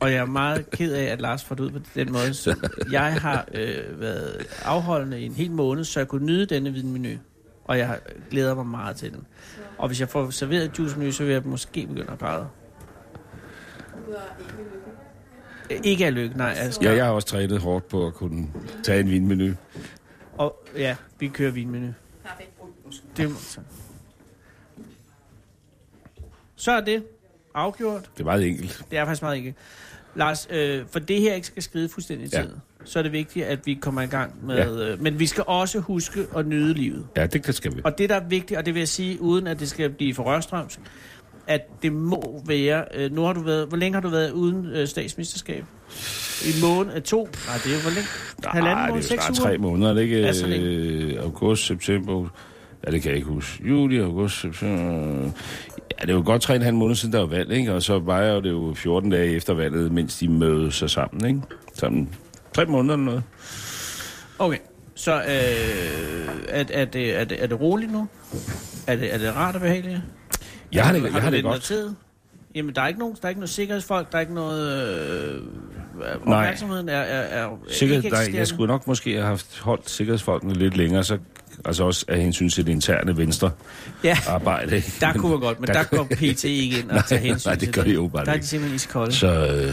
Speaker 3: og jeg er meget ked af, at Lars får det ud på den måde. Så jeg har øh, været afholdende i en hel måned, så jeg kunne nyde denne vinmenu, og jeg glæder mig meget til den. Og hvis jeg får serveret juicemenu, så vil jeg måske begynde at græde.
Speaker 7: Ud og ikke lykke.
Speaker 3: Øh, Ikke af lykke, nej. Altså,
Speaker 4: Ja, jeg har også trænet hårdt på at kunne tage en vinmenu.
Speaker 3: Og ja, vi kører vinmenu.
Speaker 7: Perfekt brug.
Speaker 3: Det må så. Så er det afgjort.
Speaker 4: Det er meget enkelt.
Speaker 3: Det er faktisk meget ikke. Lars, øh, for det her ikke skal skride fuldstændig
Speaker 4: Ja.
Speaker 3: tid, så er det vigtigt, at vi kommer i gang med... Ja. Øh, men vi skal også huske at nyde livet.
Speaker 4: Ja, det skal vi.
Speaker 3: Og det, der er vigtigt, og det vil jeg sige, uden at det skal blive for rørstrømsk, at det må være... Øh, nu har du været... Hvor længe har du været uden øh, statsministerskab? I måned af to? Nej, det er jo hvor længe?
Speaker 4: Nej, det er jo snart tre måneder, er det ikke?
Speaker 3: Ja, sådan en.
Speaker 4: Øh, august, september... Ja, det kan jeg ikke huske. Juli, august, september... Ja, det er jo godt tre og en halv måned siden, der var valg, ikke? Og så vejer det jo 14 dage efter valget, mens de mødes sig sammen, ikke? Sammen tre måneder eller noget.
Speaker 3: Okay, så øh, er, er, det, er, det, øh, er det roligt nu? Er det, er det rart at behageligt?
Speaker 4: Jeg har det,
Speaker 3: du-
Speaker 4: jeg har
Speaker 3: du
Speaker 4: det
Speaker 3: vendt dig
Speaker 4: godt.
Speaker 3: til? Jamen, der er ikke nogen, der er ikke noget sikkerhedsfolk, der er ikke noget... Øh,
Speaker 4: Nej.
Speaker 3: opmærksomheden er, er, er
Speaker 4: Sikkert,
Speaker 3: ikke
Speaker 4: nej, jeg skulle nok måske have haft holdt sikkerhedsfolkene lidt længere, så altså også af hensyn til det interne venstre
Speaker 3: Ja,
Speaker 4: arbejde. ikke?
Speaker 3: der kunne man godt, men der, går PT ikke ind og
Speaker 4: Ah. Nej,
Speaker 3: tager hensyn
Speaker 4: nej, det
Speaker 3: til
Speaker 4: gør de åbenbart
Speaker 3: Der er de
Speaker 4: ikke.
Speaker 3: simpelthen iskolde.
Speaker 4: Så øh,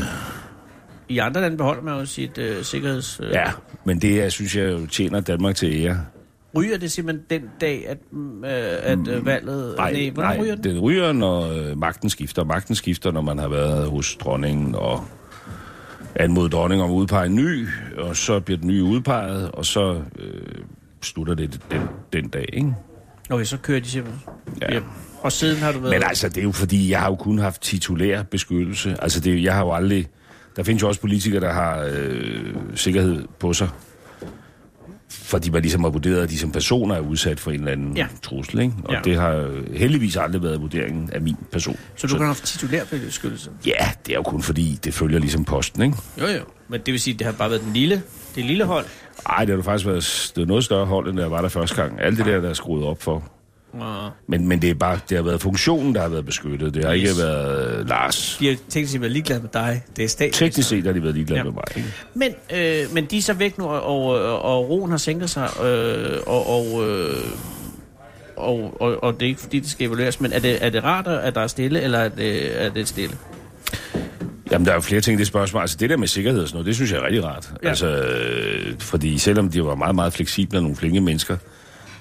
Speaker 3: I andre lande beholder man jo sit øh, sikkerheds... Øh,
Speaker 4: ja, men det, jeg synes, jeg jo tjener Danmark til ære.
Speaker 3: Ryger det simpelthen den dag, at, mm, øh, at øh, valget...
Speaker 4: Nej,
Speaker 3: hvordan
Speaker 4: nej,
Speaker 3: ryger den?
Speaker 4: den ryger, når øh, magten skifter. Magten skifter, når man har været hos dronningen og anmode dronning om at udpege en ny, og så bliver den nye udpeget, og så øh, slutter det den, den dag, ikke?
Speaker 3: Okay, så kører de simpelthen
Speaker 4: Ja.
Speaker 3: ja. hjem. Og siden har du været...
Speaker 4: Men altså, det er jo fordi, jeg har jo kun haft titulær beskyttelse. Altså, det, er jo- jeg har jo aldrig... Der findes jo også politikere, der har øh, sikkerhed på sig. Fordi man ligesom har vurderet, at de som personer er udsat for en eller anden ja.
Speaker 3: Ja.
Speaker 4: trussel, ikke? Og ja.
Speaker 3: Ja.
Speaker 4: det har øh, heldigvis aldrig været vurderingen af min person.
Speaker 3: Så du kan have haft titulær beskyttelse?
Speaker 4: Ja, det er jo kun fordi, det følger ligesom posten, ikke?
Speaker 3: Jo, jo. Men det vil sige, at det har bare været den lille, det lille hold.
Speaker 4: Ej, det har du faktisk været det er noget større hold, end da jeg var der første gang. Alt det der, der er skruet op for.
Speaker 3: Og
Speaker 4: Men, men det, er bare, det har været funktionen, der har været beskyttet. Det har yes. ikke været øh, Lars.
Speaker 3: de har teknisk set været ligeglade med dig. Det er staten.
Speaker 4: Teknisk set har de været ligeglade ja.
Speaker 3: Ja.
Speaker 4: med mig. Ikke?
Speaker 3: Men, øh, men de er så væk nu, og, og, og roen har sænket sig, øh, og, og, øh, og, og, og det er ikke fordi, det skal evalueres, men er det, er det rart, at der er stille, eller er det, er det stille?
Speaker 4: Jamen, der er jo flere ting i det spørgsmål. Altså, det der med sikkerhed og sådan noget, det synes jeg er rigtig rart. Ja.
Speaker 3: Ja.
Speaker 4: Altså, øh, fordi selvom de var meget, meget fleksible og nogle flinke mennesker,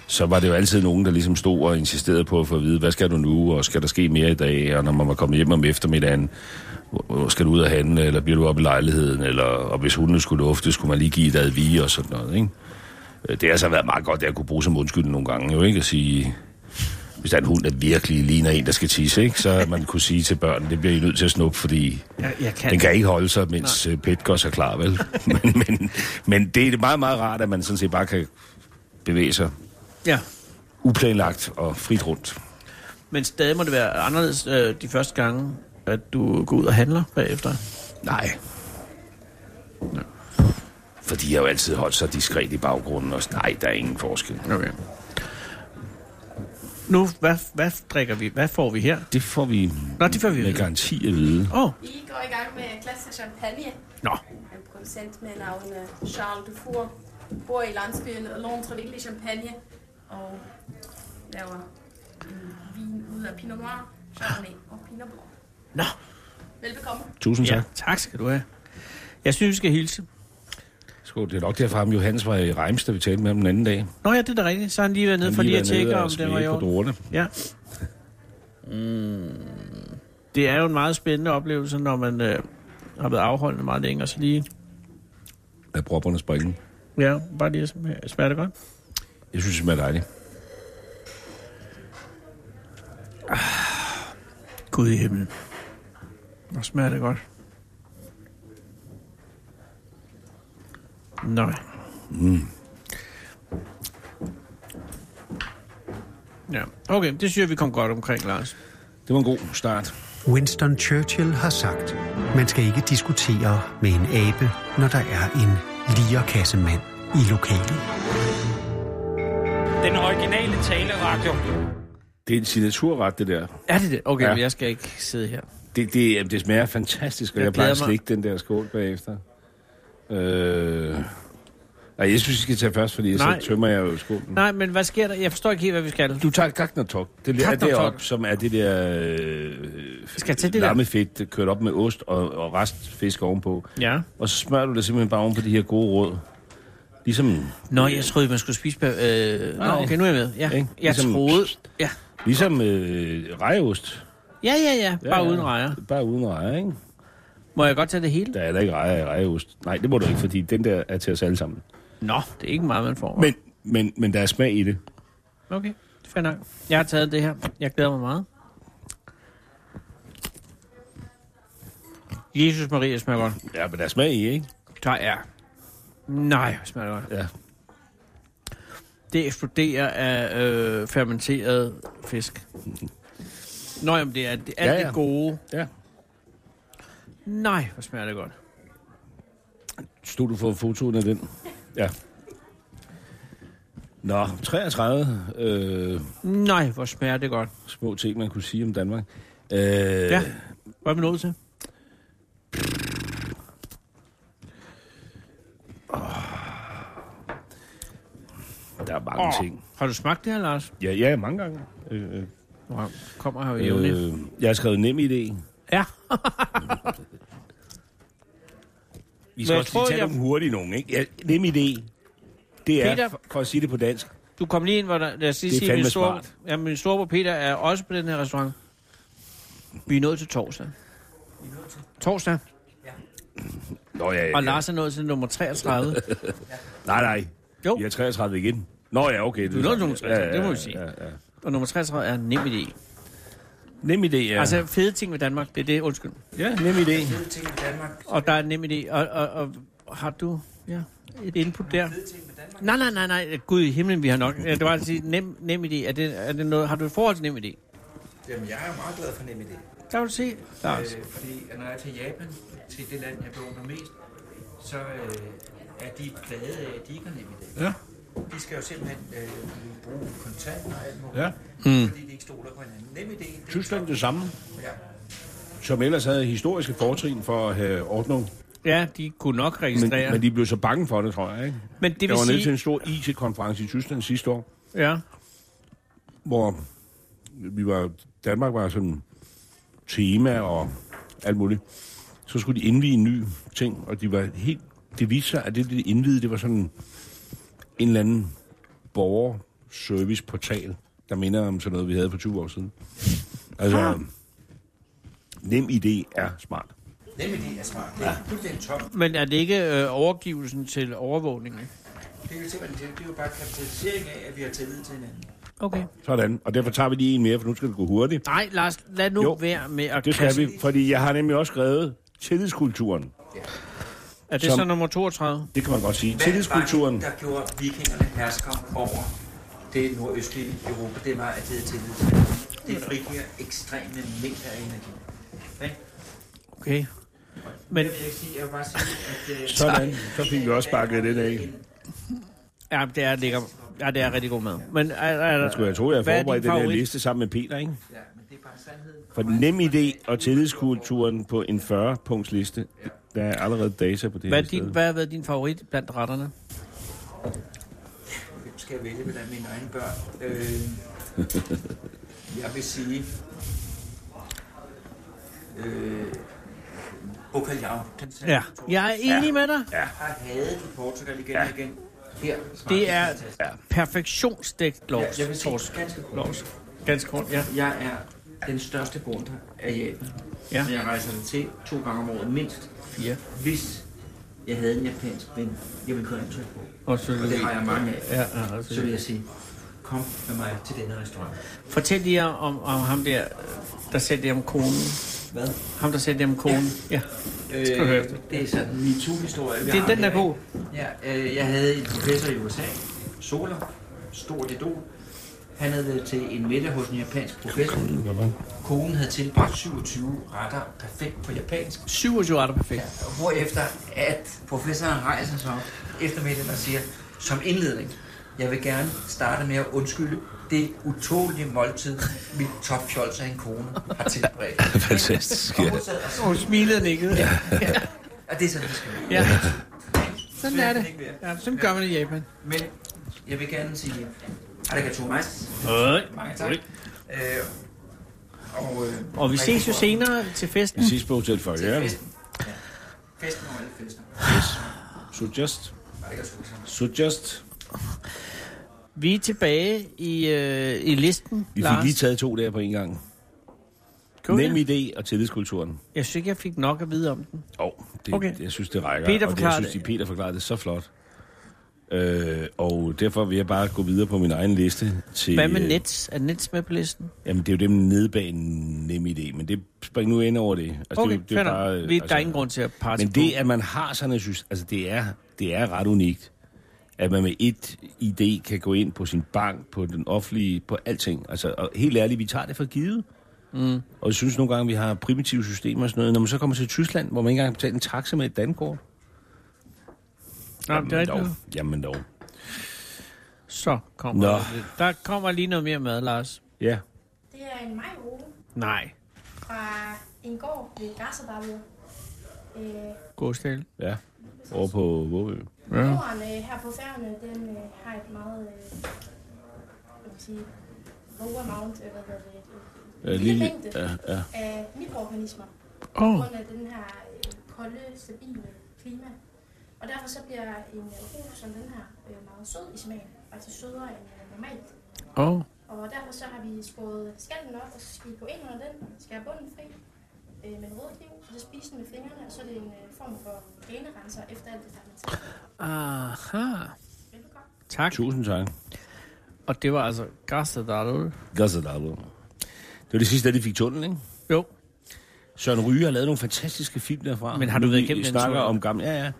Speaker 4: så var det jo altid nogen, der ligesom stod og insisterede på at få at vide, hvad skal du nu, og skal der ske mere i dag, og når man var kommet hjem om eftermiddagen, hvor- hvor skal du ud og handle, eller bliver du op i lejligheden, eller og hvis hundene skulle lufte, skulle man lige give et advige og sådan noget, ikke? Øh, Det har så været meget godt, at jeg kunne bruge som undskyldning nogle gange, jo ikke? At sige, hvis der er en hund, der virkelig ligner en, der skal tisse, ikke? Så man kunne sige til børn, det bliver I nødt til at snuppe, fordi
Speaker 3: Jeg, jeg
Speaker 4: den kan ikke holde sig, mens Nej. Pet gør sig klar, vel? men, men, men det er meget, meget rart, at man sådan set bare kan bevæge sig
Speaker 3: Ja,
Speaker 4: uplanlagt og frit rundt.
Speaker 3: men stadig må det være anderledes øh, de første gange, at du går ud og handler bagefter.
Speaker 4: Nej. Fordi jeg har jo altid holdt sig diskret i baggrunden, og sådan, nej, der er ingen forskel.
Speaker 3: Okay. Nu, hvad, hvad drikker vi? Hvad får vi her?
Speaker 4: Det får vi
Speaker 3: Nå, det får vi
Speaker 4: med
Speaker 3: at vide.
Speaker 4: garanti at vide.
Speaker 3: Åh, oh,
Speaker 7: Vi går i gang med klassisk champagne.
Speaker 3: nå.
Speaker 7: En producent med navn øh, Charles Dufour bor i landsbyen Lontreville i Champagne og laver en vin ud af Pinot Noir, Chardonnay og Pinot Blanc.
Speaker 3: Nå,
Speaker 7: Velbekomme.
Speaker 4: Tusind tak.
Speaker 3: ja,
Speaker 4: Ja.
Speaker 3: tak skal du have. Jeg synes, vi skal hilse.
Speaker 4: Skål, det er nok derfor, ham Johannes var i Reims, da vi talte med ham den anden dag.
Speaker 3: Nå ja, det er da rigtigt. Så har han lige været nede
Speaker 4: Han
Speaker 3: for lige
Speaker 4: været
Speaker 3: at
Speaker 4: nede
Speaker 3: tjekke,
Speaker 4: og
Speaker 3: om det var
Speaker 4: smage
Speaker 3: i
Speaker 4: på
Speaker 3: orden.
Speaker 4: druerne.
Speaker 3: Ja. Mm. Det er jo en meget spændende oplevelse, når man øh, har været afholdende meget længe, og så lige...
Speaker 4: Lad propperne springe.
Speaker 3: Ja, bare lige at smage- smager det godt.
Speaker 4: Jeg synes, det smager dejligt.
Speaker 3: Gud i himlen. Hvor smager det godt. Nå. Mm. Ja, okay. Det synes jeg, vi kom godt omkring, Lars.
Speaker 4: Det var en god start.
Speaker 1: Winston Churchill har sagt, man skal ikke diskutere med en abe, når der er en lierkassemand i lokalet.
Speaker 8: Den originale taleradio.
Speaker 4: Det er en signaturret, det der.
Speaker 3: Er det det? Okay,
Speaker 4: Ja.
Speaker 3: ja. men jeg skal ikke sidde her.
Speaker 4: Det, det, jamen, det smager fantastisk, og jeg,
Speaker 3: Jeg
Speaker 4: jeg plejer at
Speaker 3: glæder mig.
Speaker 4: slikke den der skål bagefter. Øh... Ej, jeg synes, vi skal tage først, fordi så
Speaker 3: Nej.
Speaker 4: tømmer jeg jo skålen.
Speaker 3: Nej, men hvad sker der? Jeg forstår ikke helt, hvad vi skal.
Speaker 4: Du tager Gagnertok. Det er
Speaker 3: Gagnertok.
Speaker 4: derop, som er det der øh,
Speaker 3: Skal jeg tage det der?
Speaker 4: lammefedt, kørt op med ost og, og restfisk ovenpå.
Speaker 3: Ja.
Speaker 4: Og så smører du det simpelthen bare oven på de her gode råd. Ligesom,
Speaker 3: Nå, jeg troede, man skulle spise... bag- Øh... Nå,
Speaker 4: Nej.
Speaker 3: okay, nu er jeg med. Ja.
Speaker 4: Ikke?
Speaker 3: Jeg
Speaker 4: Ligesom-
Speaker 3: troede... Ja,
Speaker 4: ligesom øh, rejeost.
Speaker 3: ja, ja, ja. Bare ja, ja. uden rejer.
Speaker 4: Bare uden rejer, ikke?
Speaker 3: Må jeg godt tage det hele?
Speaker 4: Der er heller ikke rejer i rejeost. Nej, det må du ikke, fordi den der er til os alle sammen.
Speaker 3: Nå, det er ikke meget, man får.
Speaker 4: Men, men, men der er smag i det.
Speaker 3: Okay, fair nok. Jeg har taget det her. Jeg glæder mig meget. Jesus Maria smager godt.
Speaker 4: Ja, men der er smag i, ikke?
Speaker 3: Der er... Nej, hvor smager det godt.
Speaker 4: Ja.
Speaker 3: Det eksploderer af øh, fermenteret fisk. Nå, jamen det er det, alt
Speaker 4: Ja,
Speaker 3: ja,
Speaker 4: ja.
Speaker 3: det gode.
Speaker 4: Ja.
Speaker 3: Nej, hvor smager det godt.
Speaker 4: Stod du for fotoen af den? Ja. Nå, 33 øh,
Speaker 3: Nej, hvor smager det godt.
Speaker 4: små ting, man kunne sige om Danmark. Øh,
Speaker 3: Ja, hvad er vi nået til?
Speaker 4: Der er mange oh. ting.
Speaker 3: Har du smagt det her, Lars?
Speaker 4: Ja, ja, mange gange. Øh, øh,
Speaker 3: Nu har- kommer her jo øh.
Speaker 4: øh, jeg har skrevet nem idé.
Speaker 3: Ja,
Speaker 4: Vi
Speaker 3: Men
Speaker 4: skal
Speaker 3: jeg
Speaker 4: også
Speaker 3: tror,
Speaker 4: lige tage
Speaker 3: jeg-
Speaker 4: nogle hurtige nogen, ikke? Ja, nem idé. Det er,
Speaker 3: Peter-
Speaker 4: for, for at sige det på dansk,
Speaker 3: du kom lige ind, hvor der... Lad os
Speaker 4: Det er
Speaker 3: lige sige,
Speaker 4: fandme
Speaker 3: min store,
Speaker 4: smart.
Speaker 3: ja, min storebror Peter er også på den her restaurant. Vi er nået til torsdag. Torsdag?
Speaker 4: Nå, ja, ja.
Speaker 3: Og Lars er nået til nummer 33.
Speaker 4: Nej, nej.
Speaker 3: Jo.
Speaker 4: Jeg er 33 igen. Nå ja, okay.
Speaker 3: Du er nået nummer
Speaker 4: Ja,
Speaker 3: 33,
Speaker 4: ja,
Speaker 3: det må vi sige.
Speaker 4: Ja, ja.
Speaker 3: Og nummer 33 er nem idé.
Speaker 4: Nem idé, ja.
Speaker 3: Altså fede ting ved Danmark, det er det, undskyld.
Speaker 4: ja, nem idé.
Speaker 9: Fede ting i Danmark.
Speaker 3: Og der er en nem idé. Og, og, og, og har du ja, et input der?
Speaker 9: Fede ting i Danmark.
Speaker 3: Nej, nej, nej, nej. Gud i himlen, vi har nok. Ja, Det var at sige, nem, nem idé. Er det, er det noget, har du et forhold til nem idé?
Speaker 9: Jamen, jeg er jo meget glad for NemID.
Speaker 3: Der vil du se, Lars.
Speaker 9: Øh, fordi at når jeg er til Japan, til det land, jeg beundrer mest, så øh, er de glade af, at de ikke har NemID.
Speaker 4: Ja.
Speaker 9: De skal jo simpelthen øh, bruge kontanter og alt muligt,
Speaker 4: Ja.
Speaker 9: mm. fordi de ikke stoler på hinanden. NemID, det er
Speaker 4: Tyskland det samme,
Speaker 9: Ja.
Speaker 4: som ellers havde historiske fortrin for at have ordnung.
Speaker 3: Ja, de kunne nok
Speaker 4: Men,
Speaker 3: registrere.
Speaker 4: men de blev så bange for det, tror jeg. Ikke?
Speaker 3: Men det
Speaker 4: jeg
Speaker 3: vil
Speaker 4: var nede
Speaker 3: sige...
Speaker 4: til en stor IT-konference i Tyskland sidste år,
Speaker 3: Ja,
Speaker 4: hvor vi var, Danmark var sådan tema og alt muligt. Så skulle de indvige en ny ting, og de var helt, det viste sig, at det, de indvide, det var sådan en eller anden borgerserviceportal, der minder om sådan noget, vi havde for 20 år siden. Altså, nem idé er smart.
Speaker 9: NemID er smart. Det er fuldstændig tom.
Speaker 3: men er det ikke øh, overgivelsen til overvågningen?
Speaker 9: Det er jo simpelthen det. Det er jo bare kapitalisering af, at vi har tillid til hinanden.
Speaker 3: Okay.
Speaker 4: Sådan, og derfor tager vi lige en mere, for nu skal det gå hurtigt.
Speaker 3: Nej, Lars, lad nu
Speaker 4: Jo,
Speaker 3: jo, være med at
Speaker 4: Det skal
Speaker 3: kaste-
Speaker 4: vi, fordi jeg har nemlig også skrevet tillidskulturen.
Speaker 3: Er det
Speaker 4: som-
Speaker 3: så nummer 32?
Speaker 4: Det kan man godt sige.
Speaker 9: Hvad var
Speaker 4: Tillidskulturen.
Speaker 9: det, der gjorde vikingerne hersker over det nordøstlige Europa, det var, at det havde tillid til hinanden. Det frigiver ekstreme mængder af energi. Okay?
Speaker 3: Okay.
Speaker 9: Men
Speaker 3: Men
Speaker 9: jeg vil ikke sige, jeg vil bare sige, at... øh,
Speaker 4: Sådan, så fik vi også sparket det af.
Speaker 3: ja, det er, ligger, ja, det er rigtig god mad. Men er, er,
Speaker 4: Jeg tror, jeg tror, jeg
Speaker 3: Hvad er din
Speaker 4: forberedte den her
Speaker 3: favorit?
Speaker 4: liste sammen med Peter, ikke?
Speaker 9: Ja, men det er bare sandheden.
Speaker 4: For den nemme idé og tillidskulturen på en 40-punkts liste, der er allerede data på det
Speaker 3: Hvad,
Speaker 4: her
Speaker 3: er din,
Speaker 4: sted.
Speaker 3: hvad har været din favorit blandt retterne?
Speaker 9: Hvem skal jeg vælge blandt mine egne børn? Øh, jeg vil sige... Øh, Bocalhau. Den sagde
Speaker 3: Ja. Jeg er enig med dig.
Speaker 9: Jeg har hadet i Portugal igen og igen. Her.
Speaker 3: Det er
Speaker 9: fantastisk.
Speaker 3: perfektionsdækt
Speaker 9: Ja,
Speaker 3: lovs.
Speaker 9: jeg vil sige, ganske kort.
Speaker 3: Ganske kort, ja.
Speaker 9: Jeg er den største bonde af Japan.
Speaker 3: Ja.
Speaker 9: Ja. Jeg rejser det til to gange om året mindst.
Speaker 3: Ja.
Speaker 9: Hvis jeg havde en japansk ven, jeg ville gøre indtryk på.
Speaker 3: Og så,
Speaker 9: Og det har jeg mange af.
Speaker 3: ja, ja, og så-
Speaker 9: Så vil jeg sige, kom med mig til denne restaurant.
Speaker 3: Fortæl lige om, om ham der, der sagde det om konen.
Speaker 9: Hvad?
Speaker 3: Ham, der sagde det om konen. Ja.
Speaker 9: Øh,
Speaker 3: Skal du høre efter.
Speaker 9: det er sådan en MeToo-historie. vi
Speaker 3: Det er
Speaker 9: har
Speaker 3: den,
Speaker 9: her,
Speaker 3: der er god.
Speaker 9: ikke? Ja, øh, jeg havde en professor i USA, Soler, stort idol. Han havde været til en middag hos en japansk professor. Konen havde tilbragt 27 retter perfekt på japansk.
Speaker 3: 27 retter perfekt.
Speaker 9: Hvorefter at professoren rejser sig op eftermiddagen og siger, som indledning, jeg vil gerne starte med at undskylde det utålige måltid, mit topfjols af en kone har tilberedt.
Speaker 10: Fantastisk.
Speaker 9: Og
Speaker 10: Ja.
Speaker 9: hun sad og så-
Speaker 3: Hun smilede og nikkede. Ja.
Speaker 9: Og det er sådan, det skal være.
Speaker 3: ja. Sådan er det. Ja, sådan gør man i Japan.
Speaker 9: Men jeg vil gerne sige, arigatou mas. Mange tak. Øh, og, øh,
Speaker 3: Og vi ses jo senere til festen.
Speaker 4: Vi ses på Hotel Foyer.
Speaker 9: Festen. Ja. Festen og alle fester.
Speaker 4: Suggest.
Speaker 9: Arigatou.
Speaker 4: Suggest.
Speaker 3: Vi er tilbage i, øh, i listen,
Speaker 4: Vi fik
Speaker 3: Lars.
Speaker 4: lige taget to der på en gang.
Speaker 3: Kan du
Speaker 4: Nem
Speaker 3: det?
Speaker 4: idé og tillidskulturen.
Speaker 3: Jeg synes ikke, jeg fik nok at vide om den.
Speaker 4: Åh, oh, det,
Speaker 3: Okay.
Speaker 4: okay. jeg synes, det rækker.
Speaker 3: Peter
Speaker 4: og det, jeg
Speaker 3: forklarede
Speaker 4: synes,
Speaker 3: det.
Speaker 4: de Peter forklarede det så flot. Øh, og derfor vil jeg bare gå videre på min egen liste. Til,
Speaker 3: Hvad med
Speaker 4: øh, Altså,
Speaker 3: Nets? Er Nets med på listen?
Speaker 4: Jamen, det er jo dem nede bag en nem idé, men det spring nu ind over det. Altså,
Speaker 3: Okay,
Speaker 4: det, er jo- det er bare, altså,
Speaker 3: Vi, der er ingen grund til at passe
Speaker 4: Men det, at man har sådan en synes, altså det er, det er ret unikt, at man med et idé kan gå ind på sin bank, på den offentlige, på alting. Altså, og helt ærligt, vi tager det for givet. Mm. Og jeg synes nogle gange, vi har primitive systemer og sådan noget. Når man så kommer til Tyskland, hvor man ikke engang kan betale en taxa med et dankort.
Speaker 3: Nå, det er ikke
Speaker 4: dog.
Speaker 3: noget.
Speaker 4: Jamen dog.
Speaker 3: Så kommer
Speaker 4: Nå.
Speaker 3: der lidt. Der kommer lige noget mere mad, Lars.
Speaker 4: Ja.
Speaker 5: Det er en majrole
Speaker 3: Nej.
Speaker 5: fra en gård ved Gasserbabu. Øh,
Speaker 3: Gåsdal.
Speaker 4: Ja. Over på Vågø.
Speaker 3: Ja.
Speaker 5: Jorden øh, her på færgerne, den øh, har et meget, øh, hvad kan man sige, low amount, øh, hvad hedder det,
Speaker 4: Ja,
Speaker 5: lille mængde
Speaker 4: ja, ja.
Speaker 5: af mikroorganismer, på
Speaker 3: Åh,
Speaker 5: grund af den her øh, kolde, stabile klima. Og derfor så bliver en øh, rus som den her øh, meget sød i smagen, faktisk sødere end øh, normalt.
Speaker 3: åh.
Speaker 5: Og derfor så har vi skåret skallen op, og så skal vi gå ind under den, skære bunden fri, øh, med en rødkniv, og så spise den med fingrene, og så er det en øh, form for venerenser efter alt det fermenterede.
Speaker 3: Aha.
Speaker 5: Velbekomme.
Speaker 3: Tak.
Speaker 4: Tusind tak.
Speaker 3: Og det var altså Gastadal.
Speaker 4: Gazadabo. Det var det sidste, da de fik tunnel, ikke?
Speaker 3: Jo.
Speaker 4: Søren Ryge har lavet nogle fantastiske film derfra.
Speaker 3: Men har du
Speaker 4: Nu,
Speaker 3: været
Speaker 4: vi
Speaker 3: igennem den
Speaker 4: snakker
Speaker 3: tunnel?
Speaker 4: om gamle, ja, ja,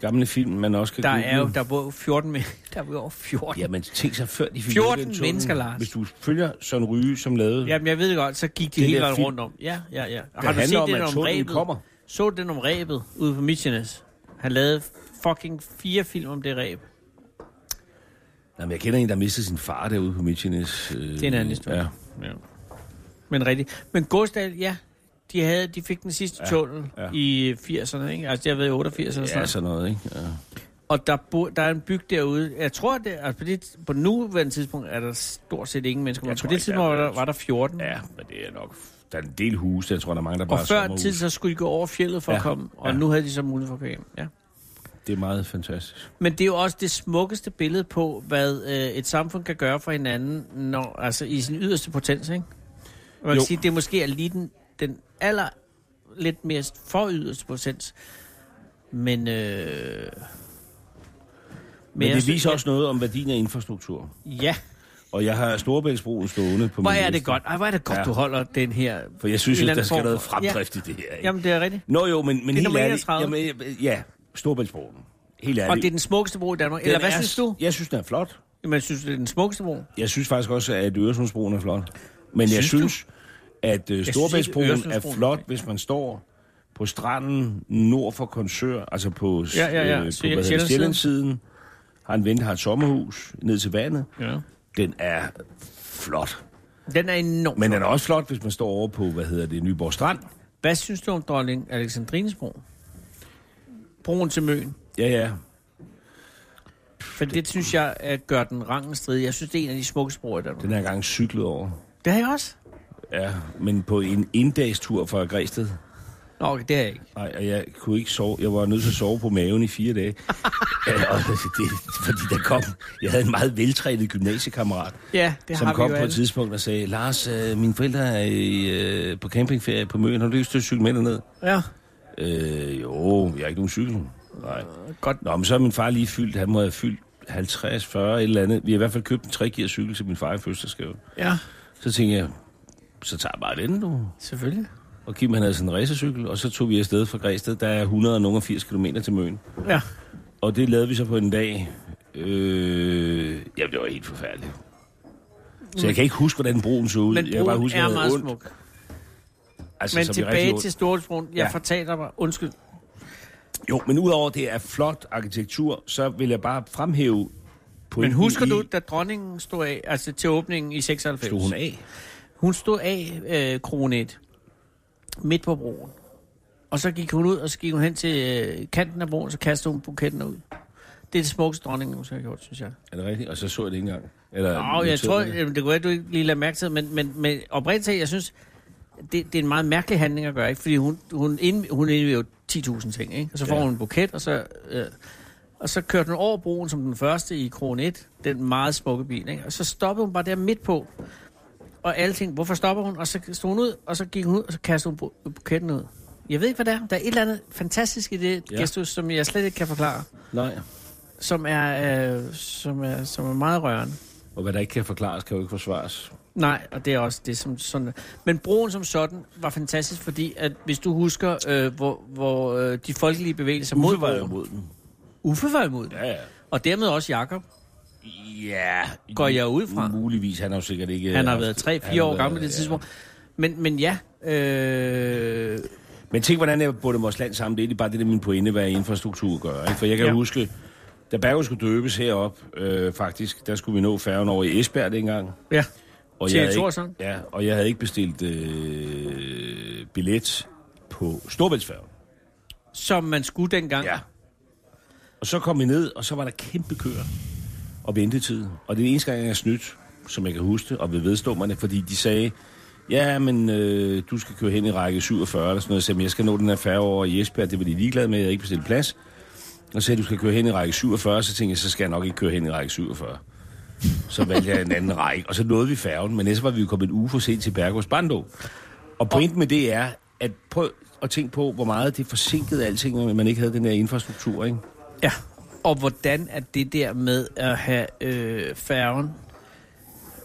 Speaker 4: gamle film, man også kan
Speaker 3: Der er jo
Speaker 4: google.
Speaker 3: der er både 14 med, der er jo over 14.
Speaker 4: Jamen, tænk sig før de fik
Speaker 3: 14
Speaker 4: lukket den tunnel.
Speaker 3: mennesker, Lars.
Speaker 4: Hvis du følger Søren Ryge, som lavede...
Speaker 3: Jamen, jeg ved det godt, så gik de
Speaker 4: Den
Speaker 3: hele
Speaker 4: der
Speaker 3: vejen
Speaker 4: film-
Speaker 3: rundt om. Ja, ja, ja.
Speaker 4: der
Speaker 3: Har du set
Speaker 4: handler
Speaker 3: om, den
Speaker 4: at
Speaker 3: om
Speaker 4: tunnelen
Speaker 3: rebet?
Speaker 4: kommer.
Speaker 3: Så du den om rebet ude på Michenes? Han lavede fucking fire film om det ræb.
Speaker 4: Jamen, jeg kender en, der mistede sin far derude på Michines. Øh, det
Speaker 3: er en anden historie.
Speaker 4: Ja.
Speaker 3: Ja. Men rigtigt. Men Godstad, ja, de, havde, de fik den sidste ja, tunnel ja.
Speaker 4: ja.
Speaker 3: i 80'erne, ikke? Altså, jeg ved, 88 eller sådan
Speaker 4: ja,
Speaker 3: noget.
Speaker 4: sådan noget, ikke? Ja.
Speaker 3: Og der, bo, der er en byg derude. Jeg tror, det, altså på, det, på nuværende tidspunkt er der stort set ingen mennesker. Men
Speaker 4: tror
Speaker 3: på det
Speaker 4: ikke,
Speaker 3: tidspunkt var
Speaker 4: der er-
Speaker 3: der, var der 14.
Speaker 4: ja, men det er nok... Der er en del huse, jeg tror, der er mange, der bare
Speaker 3: og
Speaker 4: har
Speaker 3: før
Speaker 4: sommerhus.
Speaker 3: tid, så skulle de gå over fjellet for ja,
Speaker 4: Ja,
Speaker 3: at komme. Og ja.
Speaker 4: ja.
Speaker 3: nu havde de så mulighed for at køre hjem. Ja.
Speaker 4: Det er meget fantastisk.
Speaker 3: Men det er jo også det smukkeste billede på, hvad øh, et samfund kan gøre for hinanden, når, altså i sin yderste potens, ikke? Og man kan
Speaker 4: Jo.
Speaker 3: sige, det måske er lige den, den aller lidt mere for yderste potens. Men, øh,
Speaker 4: Men,
Speaker 3: jeg
Speaker 4: det
Speaker 3: synes,
Speaker 4: viser
Speaker 3: at-
Speaker 4: også noget om værdien af infrastruktur.
Speaker 3: Ja,
Speaker 4: Og jeg har Storebæltsbroen stående på
Speaker 3: hvor
Speaker 4: min
Speaker 3: er det
Speaker 4: liste,
Speaker 3: godt. Ej, hvor er det godt, ja.
Speaker 4: Ja.
Speaker 3: du holder den her.
Speaker 4: For jeg synes
Speaker 3: en
Speaker 4: jo,
Speaker 3: eller
Speaker 4: der
Speaker 3: anden
Speaker 4: skal
Speaker 3: form
Speaker 4: noget
Speaker 3: for-
Speaker 4: fremdrift ja. i det her, ikke?
Speaker 3: Ja. Jamen, det er rigtigt.
Speaker 4: Nå jo, men, men helt
Speaker 3: nummer
Speaker 4: ærligt...
Speaker 3: 31.
Speaker 4: Jamen, øh, ja, Storebæltsbroen. Helt ærligt.
Speaker 3: Og det er den smukkeste bro i Danmark.
Speaker 4: Den
Speaker 3: Eller hvad
Speaker 4: er-
Speaker 3: synes du?
Speaker 4: Jeg synes, den er flot.
Speaker 3: Jamen, synes du, det er den smukkeste bro?
Speaker 4: Jeg synes faktisk også, at Øresundsbroen er flot. Men jeg
Speaker 3: Synes du?
Speaker 4: synes, at uh,
Speaker 3: synes ikke,
Speaker 4: Storbæltsbroen er
Speaker 3: Øresundsbroen-
Speaker 4: flot, hvis man står på stranden nord for Korsør, altså på, s-
Speaker 3: Ja, ja, ja.
Speaker 4: øh, på
Speaker 3: Sjæl-
Speaker 4: hvad hedder det,
Speaker 3: Sjællandssiden.
Speaker 4: Sjællandssiden, har en ven, der har et sommerhus ned til vandet.
Speaker 3: Ja.
Speaker 4: Den er flot.
Speaker 3: Den er enorm.
Speaker 4: Men den er også flot, hvis man står over på, hvad hedder det, Nyborg Strand.
Speaker 3: Hvad synes du om dronning Alexandrines bro? Broen til Møn.
Speaker 4: Ja, ja.
Speaker 3: For det, det synes jeg at gør den rangen strid. Jeg synes, det er en af de smukkeste broer i Danmark.
Speaker 4: Den er engang cyklet over.
Speaker 3: Det har jeg også.
Speaker 4: Ja, men på en inddagstur fra Græsted.
Speaker 3: Nå, okay, det har jeg ikke.
Speaker 4: Nej, og jeg kunne ikke sove. Jeg var nødt til at sove på maven i fire dage. Ja, og det, fordi der kom... Jeg havde en meget veltrænet gymnasiekammerat,
Speaker 3: Ja, det
Speaker 4: som
Speaker 3: har
Speaker 4: kom
Speaker 3: vi
Speaker 4: på
Speaker 3: jo
Speaker 4: et
Speaker 3: alle.
Speaker 4: tidspunkt og sagde, Lars, øh, mine forældre er i, øh, på campingferie på Møn. Har du lyst til at cykle med derned?
Speaker 3: Ja,
Speaker 4: Øh, jo, jeg har ikke nogen cykel. Nej.
Speaker 3: godt.
Speaker 4: Nå, men så er min far lige fyldt. Han må have fyldt 50, 40 et eller andet. Vi har i hvert fald købt en 3 gear cykel til min far i fødselsdagsgave.
Speaker 3: Ja,
Speaker 4: Så tænkte jeg, så tager jeg bare den, du.
Speaker 3: selvfølgelig.
Speaker 4: Og Kim han havde sådan en racercykel, og så tog vi afsted fra Græsted. Der er 180 km til Møn.
Speaker 3: Ja.
Speaker 4: Og det lavede vi så på en dag. Øh, jamen, det var helt forfærdeligt. Så jeg kan ikke huske, hvordan broen så ud.
Speaker 3: Men
Speaker 4: jeg kan
Speaker 3: broen
Speaker 4: huske,
Speaker 3: er
Speaker 4: jeg havde
Speaker 3: meget
Speaker 4: ondt.
Speaker 3: smuk.
Speaker 4: Altså,
Speaker 3: Men
Speaker 4: så blev jeg rigtig
Speaker 3: tilbage
Speaker 4: ondt.
Speaker 3: til Storhedsbroen. Jeg
Speaker 4: Ja.
Speaker 3: fortaler mig. Undskyld.
Speaker 4: Jo, men udover det er flot arkitektur, så vil jeg bare fremhæve...
Speaker 3: Men
Speaker 4: pointen
Speaker 3: husker
Speaker 4: i,
Speaker 3: du, da dronningen stod af, altså til åbningen i 96?
Speaker 4: Stod hun af?
Speaker 3: Hun stod af øh, kronet midt på broen. Og så gik hun ud, og så gik hun hen til øh, kanten af broen, så kastede hun buketten ud. Det er det smukkeste dronning, hun har gjort, synes jeg.
Speaker 4: Er det rigtigt? Og så så jeg det ikke engang. Eller,
Speaker 3: Nå, jeg
Speaker 4: noterede
Speaker 3: tror,
Speaker 4: det.
Speaker 3: jamen, det kunne være, du ikke lige lader mærke til, men, men, men oprigtigt talt, jeg synes, det, det er en meget mærkelig handling at gøre, ikke? Fordi hun, hun, ind, hun indviger jo 10.000 ting, ikke? Og så får
Speaker 4: Ja.
Speaker 3: hun en buket, og så... Øh, og så kørte hun over broen som den første i Kron 1, den meget smukke bil, ikke? Og så stoppede hun bare der midt på, og alle tænkte, hvorfor stopper hun? Og så stod hun ud, og så gik hun ud, og så kastede hun bu- buketten ud. Jeg ved ikke, hvad det er. Der er et eller andet fantastisk i det ja.
Speaker 4: Ja.
Speaker 3: gestus, som jeg slet ikke kan forklare,
Speaker 4: Nej.
Speaker 3: som er, øh, som er, som er meget rørende.
Speaker 4: Og hvad der ikke kan forklares, kan jo ikke forsvares.
Speaker 3: Nej, og det er også det, som sådan... Men broen som sådan var fantastisk, fordi at hvis du husker, øh, hvor, hvor øh, de folkelige bevægelser mod
Speaker 4: Uffe var jo
Speaker 3: broen...
Speaker 4: mod den.
Speaker 3: Uffe var imod den.
Speaker 4: Ja, ja.
Speaker 3: Og dermed også Jakob.
Speaker 4: Ja.
Speaker 3: Går jeg ud fra?
Speaker 4: Muligvis. Han har jo sikkert ikke...
Speaker 3: Han har
Speaker 4: haft-
Speaker 3: været
Speaker 4: han
Speaker 3: 3-4
Speaker 4: har
Speaker 3: år
Speaker 4: været-
Speaker 3: gammel på det tidspunkt. Men, men ja, øh,
Speaker 4: Men tænk, hvordan jeg bundet vores land sammen. Det er egentlig bare det, der er min pointe, hvad infrastruktur gør. Ikke? For jeg kan
Speaker 3: Ja.
Speaker 4: ja. huske, da Bergen skulle døbes herop, øh, faktisk, der skulle vi nå færgen over i Esbjerg dengang.
Speaker 3: ja.
Speaker 4: Og
Speaker 3: Til
Speaker 4: jeg havde
Speaker 3: Thorshavn?
Speaker 4: ikke, ja, og jeg havde ikke bestilt øh, billet på Storbæltsfærgen.
Speaker 3: Som man skulle dengang.
Speaker 4: Ja. Og så kom vi ned, og så var der kæmpe køer og ventetid. Og det er den eneste gang, jeg er snydt, som jeg kan huske det, og vil vedstå mig det, fordi de sagde, ja, men øh, du skal køre hen i række 47 eller sådan noget. Jeg sagde, men jeg skal nå den her færge over i Esbjerg, det var de ligeglade med, jeg havde ikke bestilt plads. Og så sagde, jeg, du skal køre hen i række 47, så tænkte jeg, så skal jeg nok ikke køre hen i række 47. Så valgte jeg en anden række, og så nåede vi færgen, men næste var vi jo kommet en uge for sent til Bergårds Bando. Og pointen med det er, at prøv at tænke på, hvor meget det forsinkede alting, at man ikke havde den der infrastruktur, ikke?
Speaker 3: Ja, og hvordan er det der med at have øh, færgen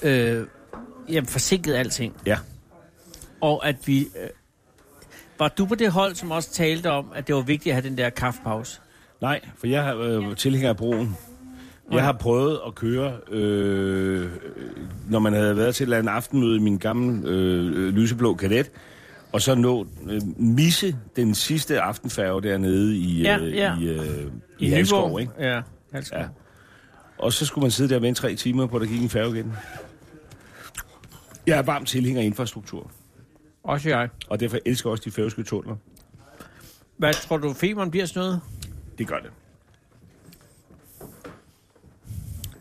Speaker 3: øh, jamen, forsinket alting?
Speaker 4: Ja.
Speaker 3: Og at vi... Øh, var du på det hold, som også talte om, at det var vigtigt at have den der kaffepause?
Speaker 4: Nej, for jeg har øh, tilhænger af broen. Jeg har prøvet at køre, øh, når man havde været til et eller andet aftenmøde i min gamle øh, lyseblå kadet, og så nå, øh, misse den sidste aftenfærge dernede i,
Speaker 3: Ja,
Speaker 4: øh,
Speaker 3: ja.
Speaker 4: i, øh, i, i Halskov,
Speaker 3: Nyborg?
Speaker 4: ikke?
Speaker 3: Ja, Halskov.
Speaker 4: Ja.
Speaker 3: Ja.
Speaker 4: Og så skulle man sidde der og vente tre timer på, at der gik en færge igen. Jeg er varm tilhænger af infrastruktur,
Speaker 3: Også jeg.
Speaker 4: og derfor elsker jeg også de færøske tunneler.
Speaker 3: Hvad tror du, feberen bliver sådan noget?
Speaker 4: Det gør det.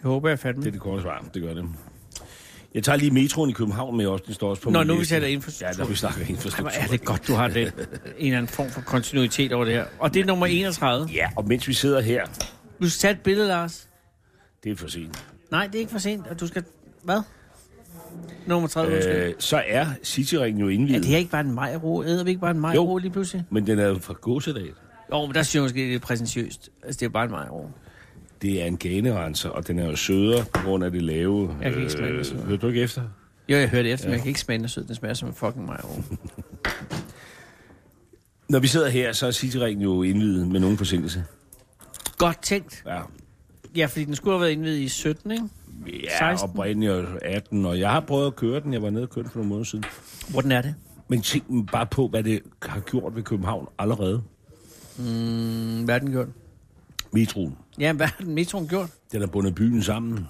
Speaker 3: Jeg håber, jeg fatter
Speaker 4: Det er
Speaker 3: det.
Speaker 4: det korte svar. Det gør det. Jeg tager lige metroen i København med også. Den står også på
Speaker 3: Nå,
Speaker 4: min
Speaker 3: nu
Speaker 4: liste.
Speaker 3: vi taler infrastruktur.
Speaker 4: Ja, når vi snakker
Speaker 3: Ej,
Speaker 4: infrastruktur.
Speaker 3: hvor er det godt, du har den. en eller anden form for kontinuitet over det her. Og det er nummer 31.
Speaker 4: Ja, og mens vi sidder her,
Speaker 3: Du skal tage et billede, Lars.
Speaker 4: det er for sent,
Speaker 3: Nej, det er ikke for sent, og du skal... Hvad? Nummer 30, øh,
Speaker 4: øh, så er Cityringen jo
Speaker 3: Er
Speaker 4: indvidet.
Speaker 3: det her ikke bare en majro? Æder vi ikke bare en majro lige pludselig?
Speaker 4: Men den er jo fra gåsedag.
Speaker 3: Jo, men der synes jeg måske, det er præsentiøst. Altså, det er bare en majro.
Speaker 4: Det er en ganerenser, og den er jo sødere på grund af det lave.
Speaker 3: Jeg kan ikke smage den søde.
Speaker 4: Hørte du ikke efter?
Speaker 3: Jo, jeg hørte efter, men jeg kan ikke smage den er sød. Den smager som en fucking majro.
Speaker 4: Når vi sidder her, så er Cityringen jo indvidet med nogen forsinkelse.
Speaker 3: Godt tænkt.
Speaker 4: Ja,
Speaker 3: Ja, fordi den skulle have været indvidet i 17, ikke?
Speaker 4: ja
Speaker 3: 16.
Speaker 4: oprindeligt og 18, og jeg har prøvet at køre den. Jeg var nede og kørte den for nogle måneder siden.
Speaker 3: Hvordan er det?
Speaker 4: Men tænk bare på, hvad det har gjort ved København allerede.
Speaker 3: Mm, Hvad har den gjort?
Speaker 4: Metroen.
Speaker 3: Ja, hvad har den metroen gjort?
Speaker 4: Den er bundet byen sammen.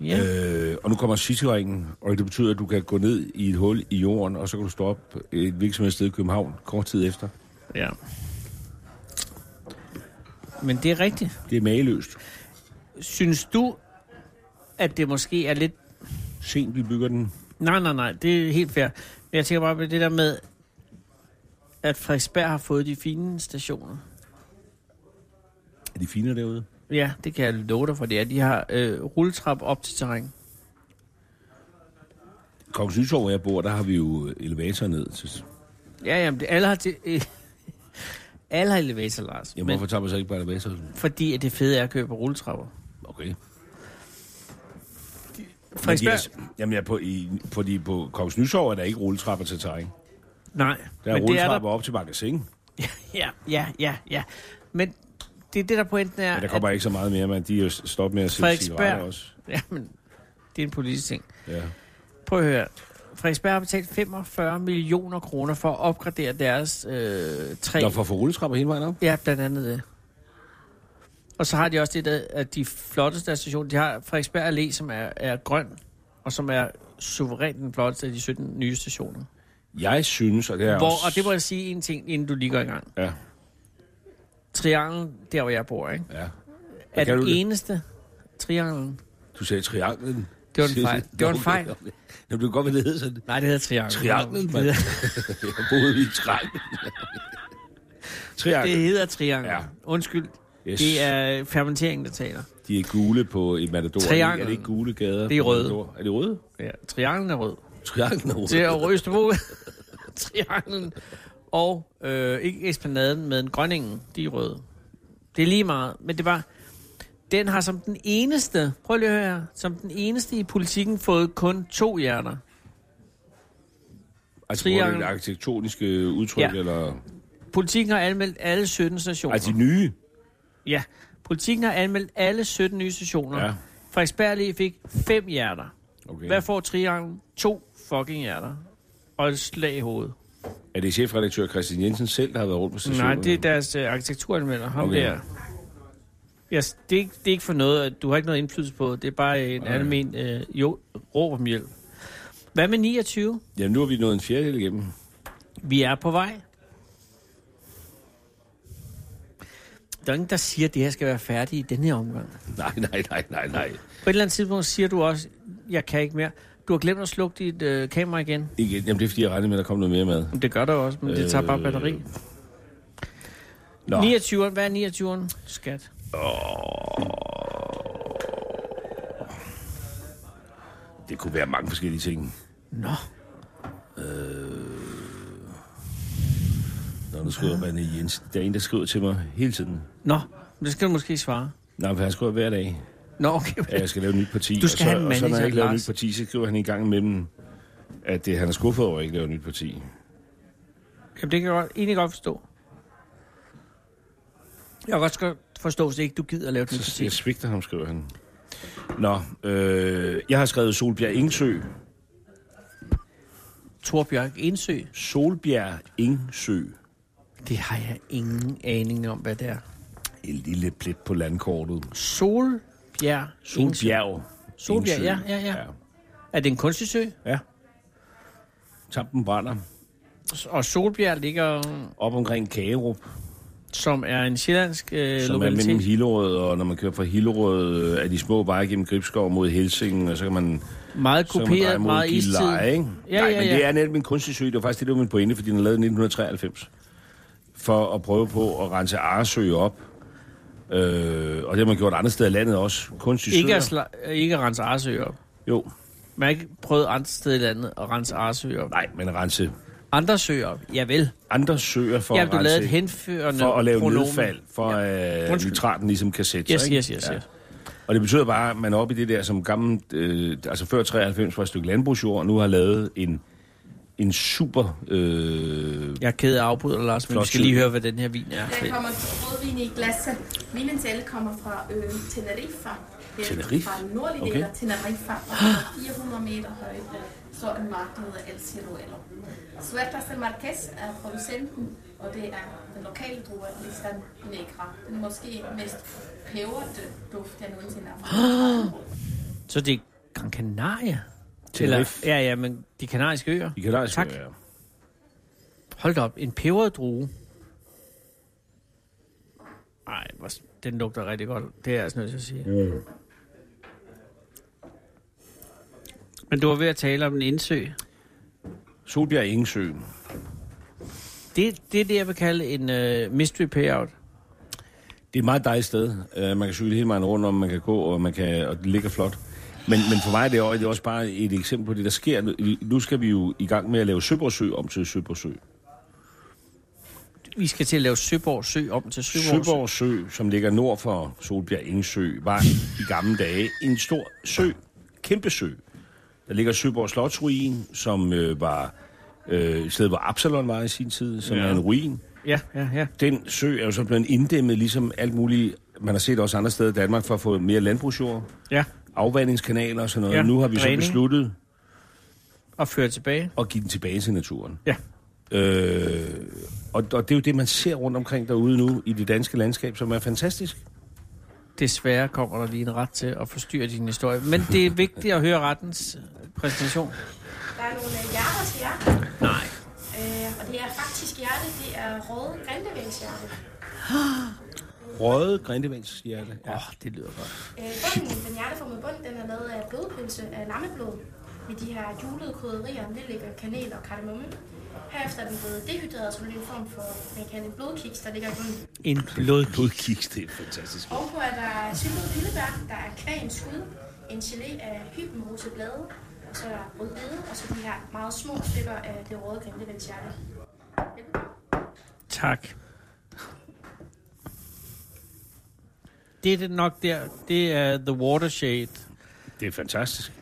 Speaker 3: Ja. Øh.
Speaker 4: Øh, og nu kommer Cityringen, og det betyder, at du kan gå ned i et hul i jorden, og så kan du stå op et virksomhedssted i København kort tid efter.
Speaker 3: ja. Men det er rigtigt.
Speaker 4: Det er mageløst.
Speaker 3: Synes du, at det måske er lidt...
Speaker 4: Sent vi bygger den.
Speaker 3: Nej, nej, nej, det er helt fair. Men jeg tænker bare på det der med, at Frederiksberg har fået de fine stationer.
Speaker 4: Er de fine derude?
Speaker 3: Ja, det kan jeg love dig for, det er. De har øh, rulletrap op til terræn.
Speaker 4: Kongens Nytorv, hvor jeg bor, der har vi jo elevator ned. Til,
Speaker 3: Ja, jamen, det, alle har... Til, øh, alle har elevator, Lars.
Speaker 4: jamen,
Speaker 3: men
Speaker 4: hvorfor tager man så ikke bare elevator?
Speaker 3: fordi at det fede er at køre på rulletrapper.
Speaker 4: Okay. Men de
Speaker 3: Frederiksberg... Yes.
Speaker 4: er, jamen, jeg er på, i, fordi på Kongens Nytorv er der ikke rulletrapper til terræn.
Speaker 3: Nej,
Speaker 4: Der er rulletrapper op til magasin, men
Speaker 3: Ja, ja, ja, ja. Men det er det, der pointen er...
Speaker 4: der kommer ikke så meget mere, men de er jo stoppet med at sælge
Speaker 3: Frederiksberg.
Speaker 4: cigaretter også.
Speaker 3: at, ja, men det er en politisk ting.
Speaker 4: Ja.
Speaker 3: Prøv at høre. Frederiksberg har betalt 45 millioner kroner for at opgradere deres øh, træ.
Speaker 4: Nå, for at få rulletrapper hele vejen op?
Speaker 3: Ja, blandt andet det. Og så har de også det der, at de flotteste af stationer, de har Frederiksberg Allé, som er, er grøn, og som er suverænt den flotteste af de 17 nye stationer.
Speaker 4: Jeg synes, og det er også...
Speaker 3: Hvor, og det må jeg sige en ting, inden du lige går i gang.
Speaker 4: Ja,
Speaker 3: Trianglen, der hvor jeg bor, ikke?
Speaker 4: ja.
Speaker 3: er
Speaker 4: kan
Speaker 3: den
Speaker 4: du det?
Speaker 3: eneste trianglen.
Speaker 4: Du sagde trianglen.
Speaker 3: Det var en fejl. Det var en fejl.
Speaker 4: Jeg blev godt ved, det hed sådan.
Speaker 3: Nej, det hedder trianglen.
Speaker 4: Trianglen, mand.
Speaker 3: Det
Speaker 4: Jeg boede i trianglen.
Speaker 3: Det
Speaker 4: Trianglen.
Speaker 3: hedder triangel.
Speaker 4: Ja.
Speaker 3: Ja. Undskyld. Yes.
Speaker 4: Yes.
Speaker 3: Det er fermenteringen, der taler.
Speaker 4: De er gule på et matador. Er det
Speaker 3: Trianglen.
Speaker 4: ikke- er det ikke gule gader?
Speaker 3: Det er
Speaker 4: på
Speaker 3: røde.
Speaker 4: Matador? Er det røde?
Speaker 3: Ja. Trianglen er rød.
Speaker 4: Trianglen er røde.
Speaker 3: Det er over Østerbro. trianglen. Og øh, ikke espanaden, men grønningen. De er røde. Det er lige meget. Men det var... Den har som den eneste, prøv lige at høre her, som den eneste i politikken fået kun to hjerner.
Speaker 4: Altså, hvor er det
Speaker 3: trianglen.
Speaker 4: det arkitektoniske udtryk,
Speaker 3: Ja.
Speaker 4: eller...
Speaker 3: Politikken har anmeldt alle 17 stationer.
Speaker 4: Altså, de nye.
Speaker 3: Ja, politikken har anmeldt alle 17 nye stationer.
Speaker 4: Ja.
Speaker 3: Ja. Frederiksberg lige fik fem hjerter.
Speaker 4: Okay.
Speaker 3: Hvad får trianglen? To fucking hjerter. Og et slag i hovedet.
Speaker 4: Er det chefredaktør Christian Jensen selv, der har været rundt på stationen?
Speaker 3: Nej, det er deres øh, arkitekturanmelder. Ham
Speaker 4: Okay.
Speaker 3: okay. der. Yes, det, er ikke, det er ikke for noget, at du har ikke noget indflydelse på. Det er bare en okay. almen øh, jo, råb om hjælp. Hvad med 29?
Speaker 4: Jamen, nu har vi nået en fjerdedel igennem.
Speaker 3: Vi er på vej. Der er ingen, der siger, at det her skal være færdigt i denne her omgang.
Speaker 4: Nej, nej, nej, nej, nej.
Speaker 3: På et eller andet tidspunkt siger du også, jeg kan ikke mere. Du har glemt at slukke dit øh, kamera igen.
Speaker 4: Ikke, jamen, det er, fordi jeg regnede med, at der kom noget mere mad.
Speaker 3: Men Det gør der også, men det tager bare
Speaker 4: Øh,
Speaker 3: batteri.
Speaker 4: Nå,
Speaker 3: 29'eren, hvad er 29'eren? Skat.
Speaker 4: det kunne være mange forskellige ting.
Speaker 3: Nå.
Speaker 4: Nu skriver
Speaker 3: Ah.
Speaker 4: man i Jens. Der er en, der skriver til mig hele tiden.
Speaker 3: Nå, men det skal du måske svare.
Speaker 4: Nej, for han skriver hver dag,
Speaker 3: Nå, okay.
Speaker 4: at jeg skal lave et nyt parti.
Speaker 3: Du skal
Speaker 4: og så,
Speaker 3: have en
Speaker 4: og så, når
Speaker 3: manager,
Speaker 4: jeg ikke laver et
Speaker 3: Lars.
Speaker 4: nyt parti, så skriver han en gang imellem, at det, han er skuffet over, at jeg ikke laver et nyt parti.
Speaker 3: Jamen, det kan jeg godt, egentlig godt forstå. Jeg kan godt forstå, hvis ikke du gider at lave den
Speaker 4: Så jeg
Speaker 3: kritik.
Speaker 4: svigter ham, skriver han. Nå, øh, jeg har skrevet Solbjerg Ingsø.
Speaker 3: Torbjørk Indsø.
Speaker 4: Solbjerg Ingsø.
Speaker 3: Det har jeg ingen aning om, hvad det er.
Speaker 4: En lille plet på landkortet.
Speaker 3: Solbjerg Indsø.
Speaker 4: Solbjerg.
Speaker 3: Solbjerg,
Speaker 4: Ingsø.
Speaker 3: ja, ja, ja. Er det en kunstig sø?
Speaker 4: Ja. Tampen brænder.
Speaker 3: Og Solbjerg ligger,
Speaker 4: Op omkring Kagerup,
Speaker 3: som er en sjællandsk øh,
Speaker 4: som er mellem
Speaker 3: lokalitet.
Speaker 4: Hillerød, og når man kører fra Hillerød øh, af de små veje gennem Gribskov mod Helsingen, og så kan man,
Speaker 3: Meget
Speaker 4: så kan man dreje
Speaker 3: kopieret,
Speaker 4: mod
Speaker 3: meget istid.
Speaker 4: Gilleleje, ikke?
Speaker 3: Ja,
Speaker 4: Nej,
Speaker 3: ja,
Speaker 4: men
Speaker 3: ja.
Speaker 4: det er netop en kunstig sø. Det var faktisk det, der var min pointe, fordi den er lavet i 1993. For at prøve på at rense Aresø op. Øh, og det har man gjort andre steder i landet også. Kunstig
Speaker 3: Ikke at,
Speaker 4: søer.
Speaker 3: sla- ikke at rense Arsø op.
Speaker 4: Jo,
Speaker 3: Man har ikke prøvet andre steder i landet at rense Arsø op.
Speaker 4: nej, men rense
Speaker 3: Andre søer op. Javel.
Speaker 4: andre søer for
Speaker 3: Ja,
Speaker 4: at
Speaker 3: du
Speaker 4: rense,
Speaker 3: lavede et henførende
Speaker 4: for at lave
Speaker 3: pronomen.
Speaker 4: nedfald, for ja. øh,
Speaker 3: Undskyld.
Speaker 4: nitraten ligesom kan sætte
Speaker 3: Yes,
Speaker 4: sig. ikke?
Speaker 3: yes, yes, yes.
Speaker 4: Og det betyder bare, at man er oppe i det der, som gammelt, øh, altså før 93 var et stykke landbrugsjord, og nu har lavet en, en super... Øh,
Speaker 3: Jeg er ked af at afbryde dig, Lars, men
Speaker 4: Flot
Speaker 3: vi skal
Speaker 4: sø.
Speaker 3: lige høre, hvad den her vin er.
Speaker 7: Der kommer rødvin i glasse. Vinen selv kommer fra øen Tenerife. Det er
Speaker 4: Tenerife?
Speaker 7: Fra den nordlige okay. del af Tenerife, og den er 400 meter høj. Så er en mark, der hedder El Ciruelo. Suertas del Marques er producenten, og det er den lokale drue, Listan Negra. Den måske mest peberete duft, jeg nogensinde har fået.
Speaker 3: Så det er Gran Canaria?
Speaker 4: Tenerife.
Speaker 3: ja, ja, men de kanariske øer.
Speaker 4: I kan da
Speaker 3: Tak.
Speaker 4: Ja.
Speaker 3: Hold da op, en peberet drue. Nej, den lugter rigtig godt. Det er jeg altså nødt til at sige. Mm. Men du var ved at tale om en indsø.
Speaker 4: Solbjerg Ingesø.
Speaker 3: Det, det er det, jeg vil kalde en uh, mystery payout.
Speaker 4: Det er et meget dejligt sted. Uh, man kan cykle hele vejen rundt, om man kan gå, og, man kan, og det ligger flot. Men, men for mig er det, også, det er også bare et eksempel på det, der sker. Nu- Nu skal vi jo i gang med at lave Søborgsø om til Søborgsø.
Speaker 3: Vi skal til at lave Søborg Sø om til Søborg, Sø.
Speaker 4: Søborg Sø, som ligger nord for Solbjerg Ingesø, var i gamle dage en stor sø, kæmpe sø. Der ligger Søborg Slotsruin, som øh, var øh, et sted, hvor Absalon var i sin tid, som ja. er en ruin.
Speaker 3: Ja, ja, ja.
Speaker 4: Den sø er jo så blevet inddæmmet, ligesom alt muligt, man har set også andre steder i Danmark, for at få mere landbrugsjord,
Speaker 3: ja.
Speaker 4: afvandingskanaler og sådan noget. Ja.
Speaker 3: Ja,
Speaker 4: Nu har vi så
Speaker 3: dræning.
Speaker 4: besluttet
Speaker 3: Og føre tilbage.
Speaker 4: at give den tilbage til naturen.
Speaker 3: Ja.
Speaker 4: Øh, og, og det er jo det, man ser rundt omkring derude nu i det danske landskab, som er fantastisk.
Speaker 3: Desværre kommer der lige en ret til at forstyrre din historie. Men det er vigtigt at høre rettens præsentation.
Speaker 5: Der er nogle øh, hjerter til jer.
Speaker 3: Nej.
Speaker 5: Øh, og det er faktisk hjerte, det er røde grindevælshjerte.
Speaker 4: Røde grindevænshjerte.
Speaker 3: Åh, oh, det lyder godt.
Speaker 5: Øh, bunden, den hjerteformede bund, den er lavet af blodpølse af lammeblod med de her julede krydderier, lillik, kanel og kardemomme. Herefter er den blevet dehydreret som en form for, man kan kalde en blodkiks, der ligger i bunden.
Speaker 3: En blodklud.
Speaker 4: Blodkiks, det er fantastisk.
Speaker 5: Ovenpå er der syltede pillebær, der er kvægens skud, en gelé af hybenrose blade, og så er der rødbede, og så de her meget små stykker af det røde grindevælshjerte.
Speaker 3: Tak. Det er det nok der. Det er The Watershed.
Speaker 4: Det er fantastisk.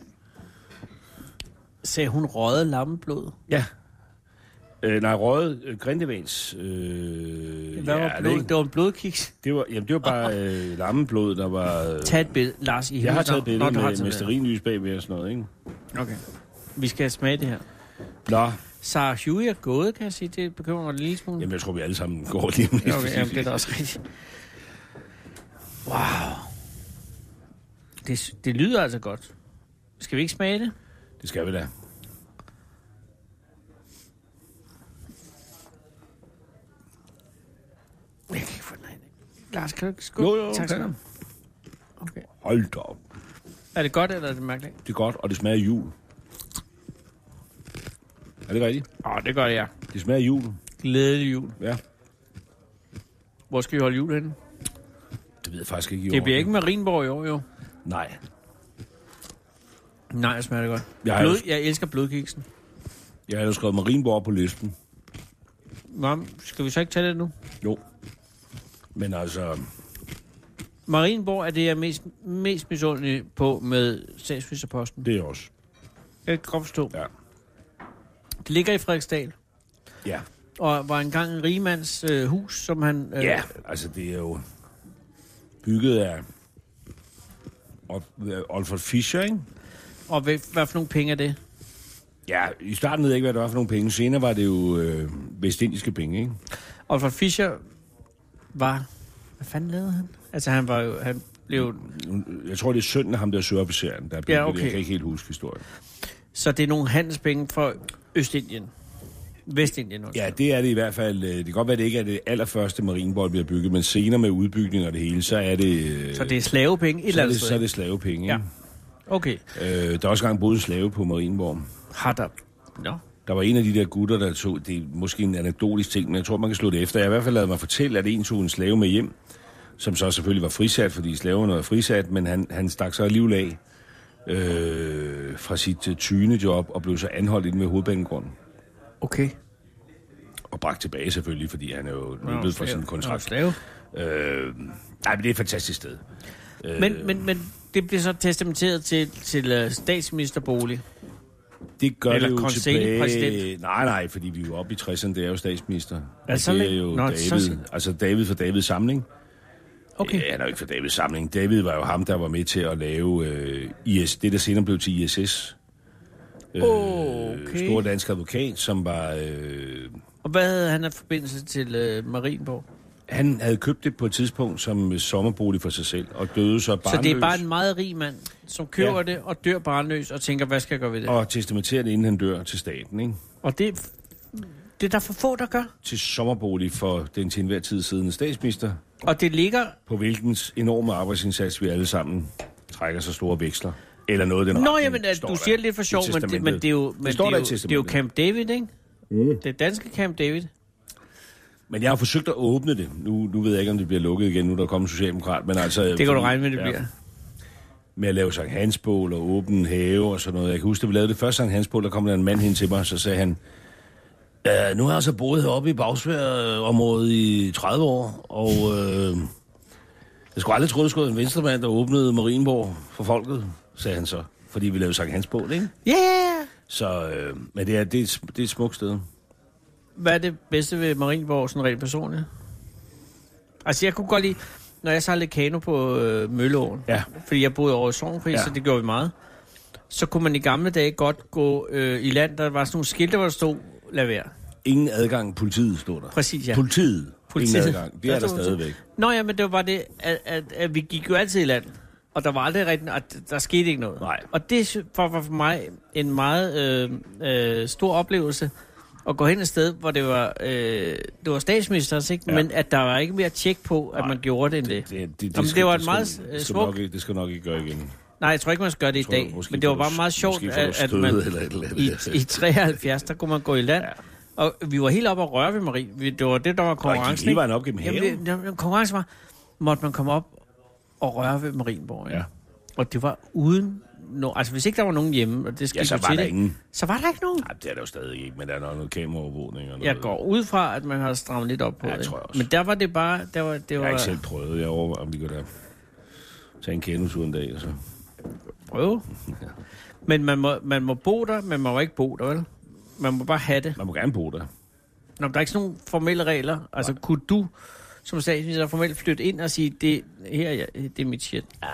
Speaker 3: Sagde hun røget lammeblod?
Speaker 4: Ja. Øh, nej, røde øh, grindevæns. Øh,
Speaker 3: Hvad var
Speaker 4: ja,
Speaker 3: blod?
Speaker 4: Det,
Speaker 3: Det var en blodkiks.
Speaker 4: det, var, jamen, det var bare øh, lammeblod, der var... Øh,
Speaker 3: Tag et billede, Lars. I
Speaker 4: jeg har
Speaker 3: himlens
Speaker 4: taget
Speaker 3: navn. Nå,
Speaker 4: billeder
Speaker 3: du har
Speaker 4: med,
Speaker 3: taget
Speaker 4: med
Speaker 3: billeder.
Speaker 4: sterinlys bagved og sådan noget, ikke?
Speaker 3: Okay. Vi skal smage det her.
Speaker 4: Nå,
Speaker 3: Sarah Huey er gået, kan jeg sige. Det bekymrer mig en lille smule.
Speaker 4: jamen jeg tror, vi alle sammen går lige om lidt.
Speaker 3: Okay, jamen, det er da også rigtigt. Wow. Det, det lyder altså godt. Skal vi ikke smage det?
Speaker 4: det skal vi da.
Speaker 3: Jeg kan ikke få den af. Lars, kan du ikke skubbe?
Speaker 4: Jo, jo,
Speaker 3: tak skal du
Speaker 4: okay.
Speaker 3: have. Okay.
Speaker 4: Hold da op.
Speaker 3: Er det godt, eller er det mærkeligt?
Speaker 4: Det er godt, og det smager af jul. Er det rigtigt?
Speaker 3: Åh, oh, det gør jeg.
Speaker 4: Det smager af jul,
Speaker 3: Glædelig jul.
Speaker 4: ja.
Speaker 3: Hvor skal vi holde jul henne?
Speaker 4: Det ved jeg faktisk ikke i
Speaker 3: Det
Speaker 4: år.
Speaker 3: bliver ikke Marienborg i år, jo.
Speaker 4: Nej.
Speaker 3: Nej, jeg smager det godt.
Speaker 4: Jeg har
Speaker 3: Blod,
Speaker 4: jo-
Speaker 3: jeg elsker blodkiksen.
Speaker 4: Jeg har ellers skrevet Marienborg på listen.
Speaker 3: Nå, men skal vi så ikke tage det nu?
Speaker 4: Jo. Men altså,
Speaker 3: Marienborg er det, jeg er mest, mest misundelig på med statsministerposten.
Speaker 4: det er også.
Speaker 3: Jeg kan godt forstå.
Speaker 4: Ja.
Speaker 3: Det ligger i Frederiksdal,
Speaker 4: Ja.
Speaker 3: og var engang en rigemands øh, hus, som han... Øh,
Speaker 4: Ja, altså det er jo bygget af Ol- Olfert Fischer, ikke?
Speaker 3: Og hvad, hvad for nogle penge er det?
Speaker 4: Ja, i starten ved jeg ikke, hvad det var for nogle penge. Senere var det jo øh, vestindiske penge, ikke?
Speaker 3: Oliver Fischer var... Hvad fanden lavede han? Altså, han var jo... Han blev,
Speaker 4: Nu- Jeg tror, det er sønnen af ham, der er søofficeren, der er bygget
Speaker 3: Ja,
Speaker 4: ja,
Speaker 3: okay.
Speaker 4: okay. Jeg kan ikke helt huske historien.
Speaker 3: så det er nogle handelspenge fra Østindien. Vestindien også.
Speaker 4: Ja, det er det i hvert fald. øh, Det kan godt være, det ikke er det allerførste marinebold, bliver bygget, men senere med udbygning og det hele, så er det... øh,
Speaker 3: Så det er slavepenge et
Speaker 4: så
Speaker 3: eller
Speaker 4: er det,
Speaker 3: andet
Speaker 4: så er
Speaker 3: sted.
Speaker 4: det slavepenge,
Speaker 3: Ja.
Speaker 4: ikke?
Speaker 3: Okay.
Speaker 4: Øh, der er også engang boet en slave på Marienborg.
Speaker 3: Har der... Nå.
Speaker 4: Der var en af de der gutter, der tog, det er måske en anekdotisk ting, men jeg tror, man kan slå det efter. Jeg har i hvert fald lavet mig fortælle, at en tog en slave med hjem, som så selvfølgelig var frisat, fordi slaverne var frisat, men han, han stak så alligevel af øh, fra sit tyne job og blev så anholdt inde ved hovedbanegrunden.
Speaker 3: Okay.
Speaker 4: Og bragt tilbage selvfølgelig, fordi han er jo løbet fra sin kontrakt.
Speaker 3: Slave.
Speaker 4: Øh, nej, men det er et fantastisk sted.
Speaker 3: Men, men, men det bliver så testamenteret til, til uh, statsministerbolig.
Speaker 4: Det gør
Speaker 3: Eller
Speaker 4: det jo
Speaker 3: Kong Sele
Speaker 4: tilbage...
Speaker 3: præsident.
Speaker 4: Nej, nej, fordi vi er jo oppe i 60'erne, det er jo statsminister.
Speaker 3: Ja,
Speaker 4: Og
Speaker 3: så
Speaker 4: det er
Speaker 3: længe-
Speaker 4: jo
Speaker 3: Nå,
Speaker 4: David,
Speaker 3: så-
Speaker 4: altså David for Davids samling.
Speaker 3: Okay.
Speaker 4: Øh, han er jo ikke for Davids samling. David var jo ham, der var med til at lave øh, IS, det, der senere blev til ISS. Øh,
Speaker 3: Oh, Okay.
Speaker 4: Stor dansk advokat, som var... Øh,
Speaker 3: Og hvad havde han af forbindelse til uh, Marienborg?
Speaker 4: han havde købt det på et tidspunkt som øh, sommerbolig for sig selv, og døde så barnløs.
Speaker 3: Så det er bare en meget rig mand, som køber ja.
Speaker 4: Ja.
Speaker 3: det og dør barnløs og tænker, hvad skal jeg gøre ved det? Og,
Speaker 4: Og testamenterer det, inden han dør til staten, ikke?
Speaker 3: og det, er- det er der for få, der gør.
Speaker 4: Til sommerbolig for den til enhver tid siddende statsminister,
Speaker 3: Og det ligger...
Speaker 4: på hvilkens enorme arbejdsindsats vi alle sammen trækker så store veksler. Eller noget af den
Speaker 3: Nå,
Speaker 4: retning,
Speaker 3: jamen, at
Speaker 4: står
Speaker 3: du
Speaker 4: der
Speaker 3: siger det lidt for
Speaker 4: i
Speaker 3: sjov, men det,
Speaker 4: testamentet.
Speaker 3: men det er jo, men
Speaker 4: det,
Speaker 3: det
Speaker 4: står
Speaker 3: er
Speaker 4: der i
Speaker 3: jo, det er jo
Speaker 4: testamentet.
Speaker 3: Camp David, ikke? Mm. Det danske Camp David.
Speaker 4: Men jeg har forsøgt at åbne det. Nu, nu ved jeg ikke, om det bliver lukket igen, nu der kommer en socialdemokrat. Men altså,
Speaker 3: Det kan du regne med, det
Speaker 4: ja,
Speaker 3: bliver.
Speaker 4: Med at lave Sankt Hansbål og åbne have og sådan noget. Jeg kan huske, da vi lavede det første Sankt Hansbål, der kom der en mand hen til mig, og så sagde han, "Øh, nu har jeg så boet heroppe i Bagsværområdet i 30 år, og øh, jeg skulle aldrig tro, det skulle være en venstremand, der åbnede Marienborg for folket, sagde han så. Fordi vi lavede Sankt Hansbål, ikke?
Speaker 3: Ja, yeah!
Speaker 4: Så, øh, men det er, det, er et, det er et smukt sted.
Speaker 3: Hvad er det bedste ved Marienborg, sådan rent personligt? Altså, jeg kunne godt lide, når jeg sejlede kano på øh, Mølleåen,
Speaker 4: Ja.
Speaker 3: fordi jeg boede over i Sovnpris, ja.
Speaker 4: Ja.
Speaker 3: så det gjorde vi meget, så kunne man i gamle dage godt gå øh, i land, der var sådan nogle skilte, hvor der stod, lad være.
Speaker 4: Ingen adgang, politiet stod der.
Speaker 3: Præcis, ja.
Speaker 4: Politiet.
Speaker 3: Politiet.
Speaker 4: Ingen adgang. Det er der
Speaker 3: stod-
Speaker 4: stadigvæk.
Speaker 3: Nå ja, men det var bare det, at, at, at vi gik jo altid i land, og der var aldrig rigtig, og d- der skete ikke noget.
Speaker 4: Nej.
Speaker 3: Og det sy- var var for mig en meget øh, øh, stor oplevelse, at gå hen et sted, hvor det var, øh, det var statsministerens, ikke? Ja.
Speaker 4: Ja.
Speaker 3: men at der var ikke mere tjek på, at
Speaker 4: Nej.
Speaker 3: man gjorde det end det.
Speaker 4: Det, det, det,
Speaker 3: Jamen,
Speaker 4: skal,
Speaker 3: det var et
Speaker 4: skal-
Speaker 3: meget, øh,
Speaker 4: det skal
Speaker 3: smukt-
Speaker 4: nok ikke, Det skal nok ikke gøre igen.
Speaker 3: Nej, jeg tror ikke, man skal gøre det i
Speaker 4: tror,
Speaker 3: dag,
Speaker 4: måske
Speaker 3: men det var
Speaker 4: får du
Speaker 3: bare meget
Speaker 4: s-
Speaker 3: sjovt,
Speaker 4: måske får du
Speaker 3: at, at
Speaker 4: stød
Speaker 3: man
Speaker 4: eller et eller
Speaker 3: i,
Speaker 4: andet.
Speaker 3: i 73, der kunne man gå i land, ja. og vi var helt oppe og røre ved Marie. Vi- Det var det, der var konkurrencen.
Speaker 4: hele
Speaker 3: ikke?
Speaker 4: vejen op gennem
Speaker 3: Jamen,
Speaker 4: haven.
Speaker 3: det- jamen, konkurrencen var, måtte man komme op og røre ved Marienborg. ikke?
Speaker 4: Ja.
Speaker 3: Og det var uden... No, altså, hvis ikke der var nogen hjemme, og det skete
Speaker 4: Ja, så
Speaker 3: jo
Speaker 4: var
Speaker 3: til
Speaker 4: der
Speaker 3: det,
Speaker 4: ingen.
Speaker 3: så var der ikke nogen.
Speaker 4: Nej, det er der jo stadig ikke, men der er nok noget kameraovervågning. Og noget.
Speaker 3: Jeg går ud fra, at man har strammet lidt op på
Speaker 4: Ja,
Speaker 3: det.
Speaker 4: jeg tror jeg også.
Speaker 3: Men der var det bare... Der var, det
Speaker 4: Jeg
Speaker 3: var,
Speaker 4: har ikke selv prøvet. Jeg overvejer, om vi kan da tage en kendelse en dag. altså. og Så.
Speaker 3: prøve. Men man må, man må bo der, men man må ikke bo der, vel? Man må bare have det.
Speaker 4: Man må gerne bo der.
Speaker 3: Nå, men der er ikke sådan nogle formelle regler. Altså, Nej. kunne du som statsminister formelt flytte ind og sige, det her er jeg- det er mit shit?
Speaker 4: Ah,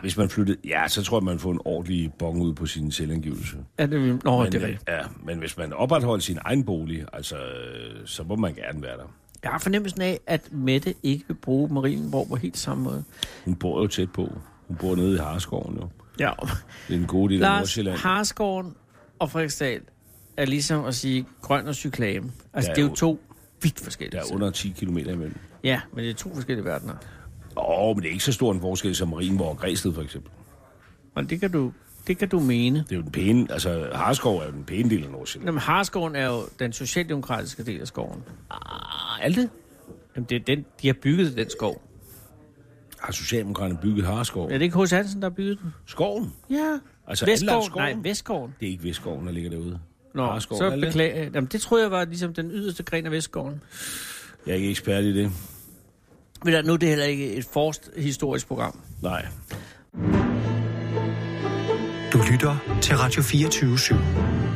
Speaker 4: hvis man flyttede... Ja, så tror jeg, man får en ordentlig bong ud på sin selvangivelse.
Speaker 3: Er det, nå,
Speaker 4: men,
Speaker 3: det er
Speaker 4: øh,
Speaker 3: rigtigt.
Speaker 4: ja, men hvis man opretholder sin egen bolig, altså, øh, så må man gerne være der.
Speaker 3: Jeg har fornemmelsen af, at Mette ikke vil bruge Marienborg på helt samme måde.
Speaker 4: Hun bor jo tæt på. Hun bor nede i Harskoven jo.
Speaker 3: Ja.
Speaker 4: Det er den gode del af
Speaker 3: Lars
Speaker 4: Nordsjælland.
Speaker 3: Harskoven og Frederiksdal er ligesom at sige grøn og cyklame. Altså,
Speaker 4: Der er
Speaker 3: det er jo
Speaker 4: jo-
Speaker 3: to vidt
Speaker 4: Der
Speaker 3: forskellige.
Speaker 4: er under 10 km imellem.
Speaker 3: Ja, men det er to forskellige verdener.
Speaker 4: Åh, oh, men det er ikke så stor en forskel som Marienborg og Græsted, for eksempel.
Speaker 3: Men det kan du, det kan du mene.
Speaker 4: Det er jo den pæne, altså Harskov er jo den pæne del af Nordsjælland.
Speaker 3: Jamen, Harskoven er jo den socialdemokratiske del af skoven.
Speaker 4: Har alt Ah, det?
Speaker 3: Jamen, det er den, de har bygget den skov.
Speaker 4: Har Socialdemokraterne bygget Harskov?
Speaker 3: Er det ikke H.C. Hansen, der har bygget den?
Speaker 4: Skoven?
Speaker 3: Ja.
Speaker 4: Altså,
Speaker 3: Vestskoven?
Speaker 4: Anlagskoven?
Speaker 3: Nej, Vestskoven.
Speaker 4: Det er ikke Vestskoven, der ligger derude.
Speaker 3: Nå,
Speaker 4: Harskoven, er
Speaker 3: så
Speaker 4: det det?
Speaker 3: beklager jeg. Jamen, det tror jeg var ligesom den yderste gren af Vestskoven.
Speaker 4: Jeg er ikke ekspert i det.
Speaker 3: Men der, nu er det heller ikke et forst historisk program.
Speaker 4: Nej.
Speaker 1: Du lytter til Radio 24 /7.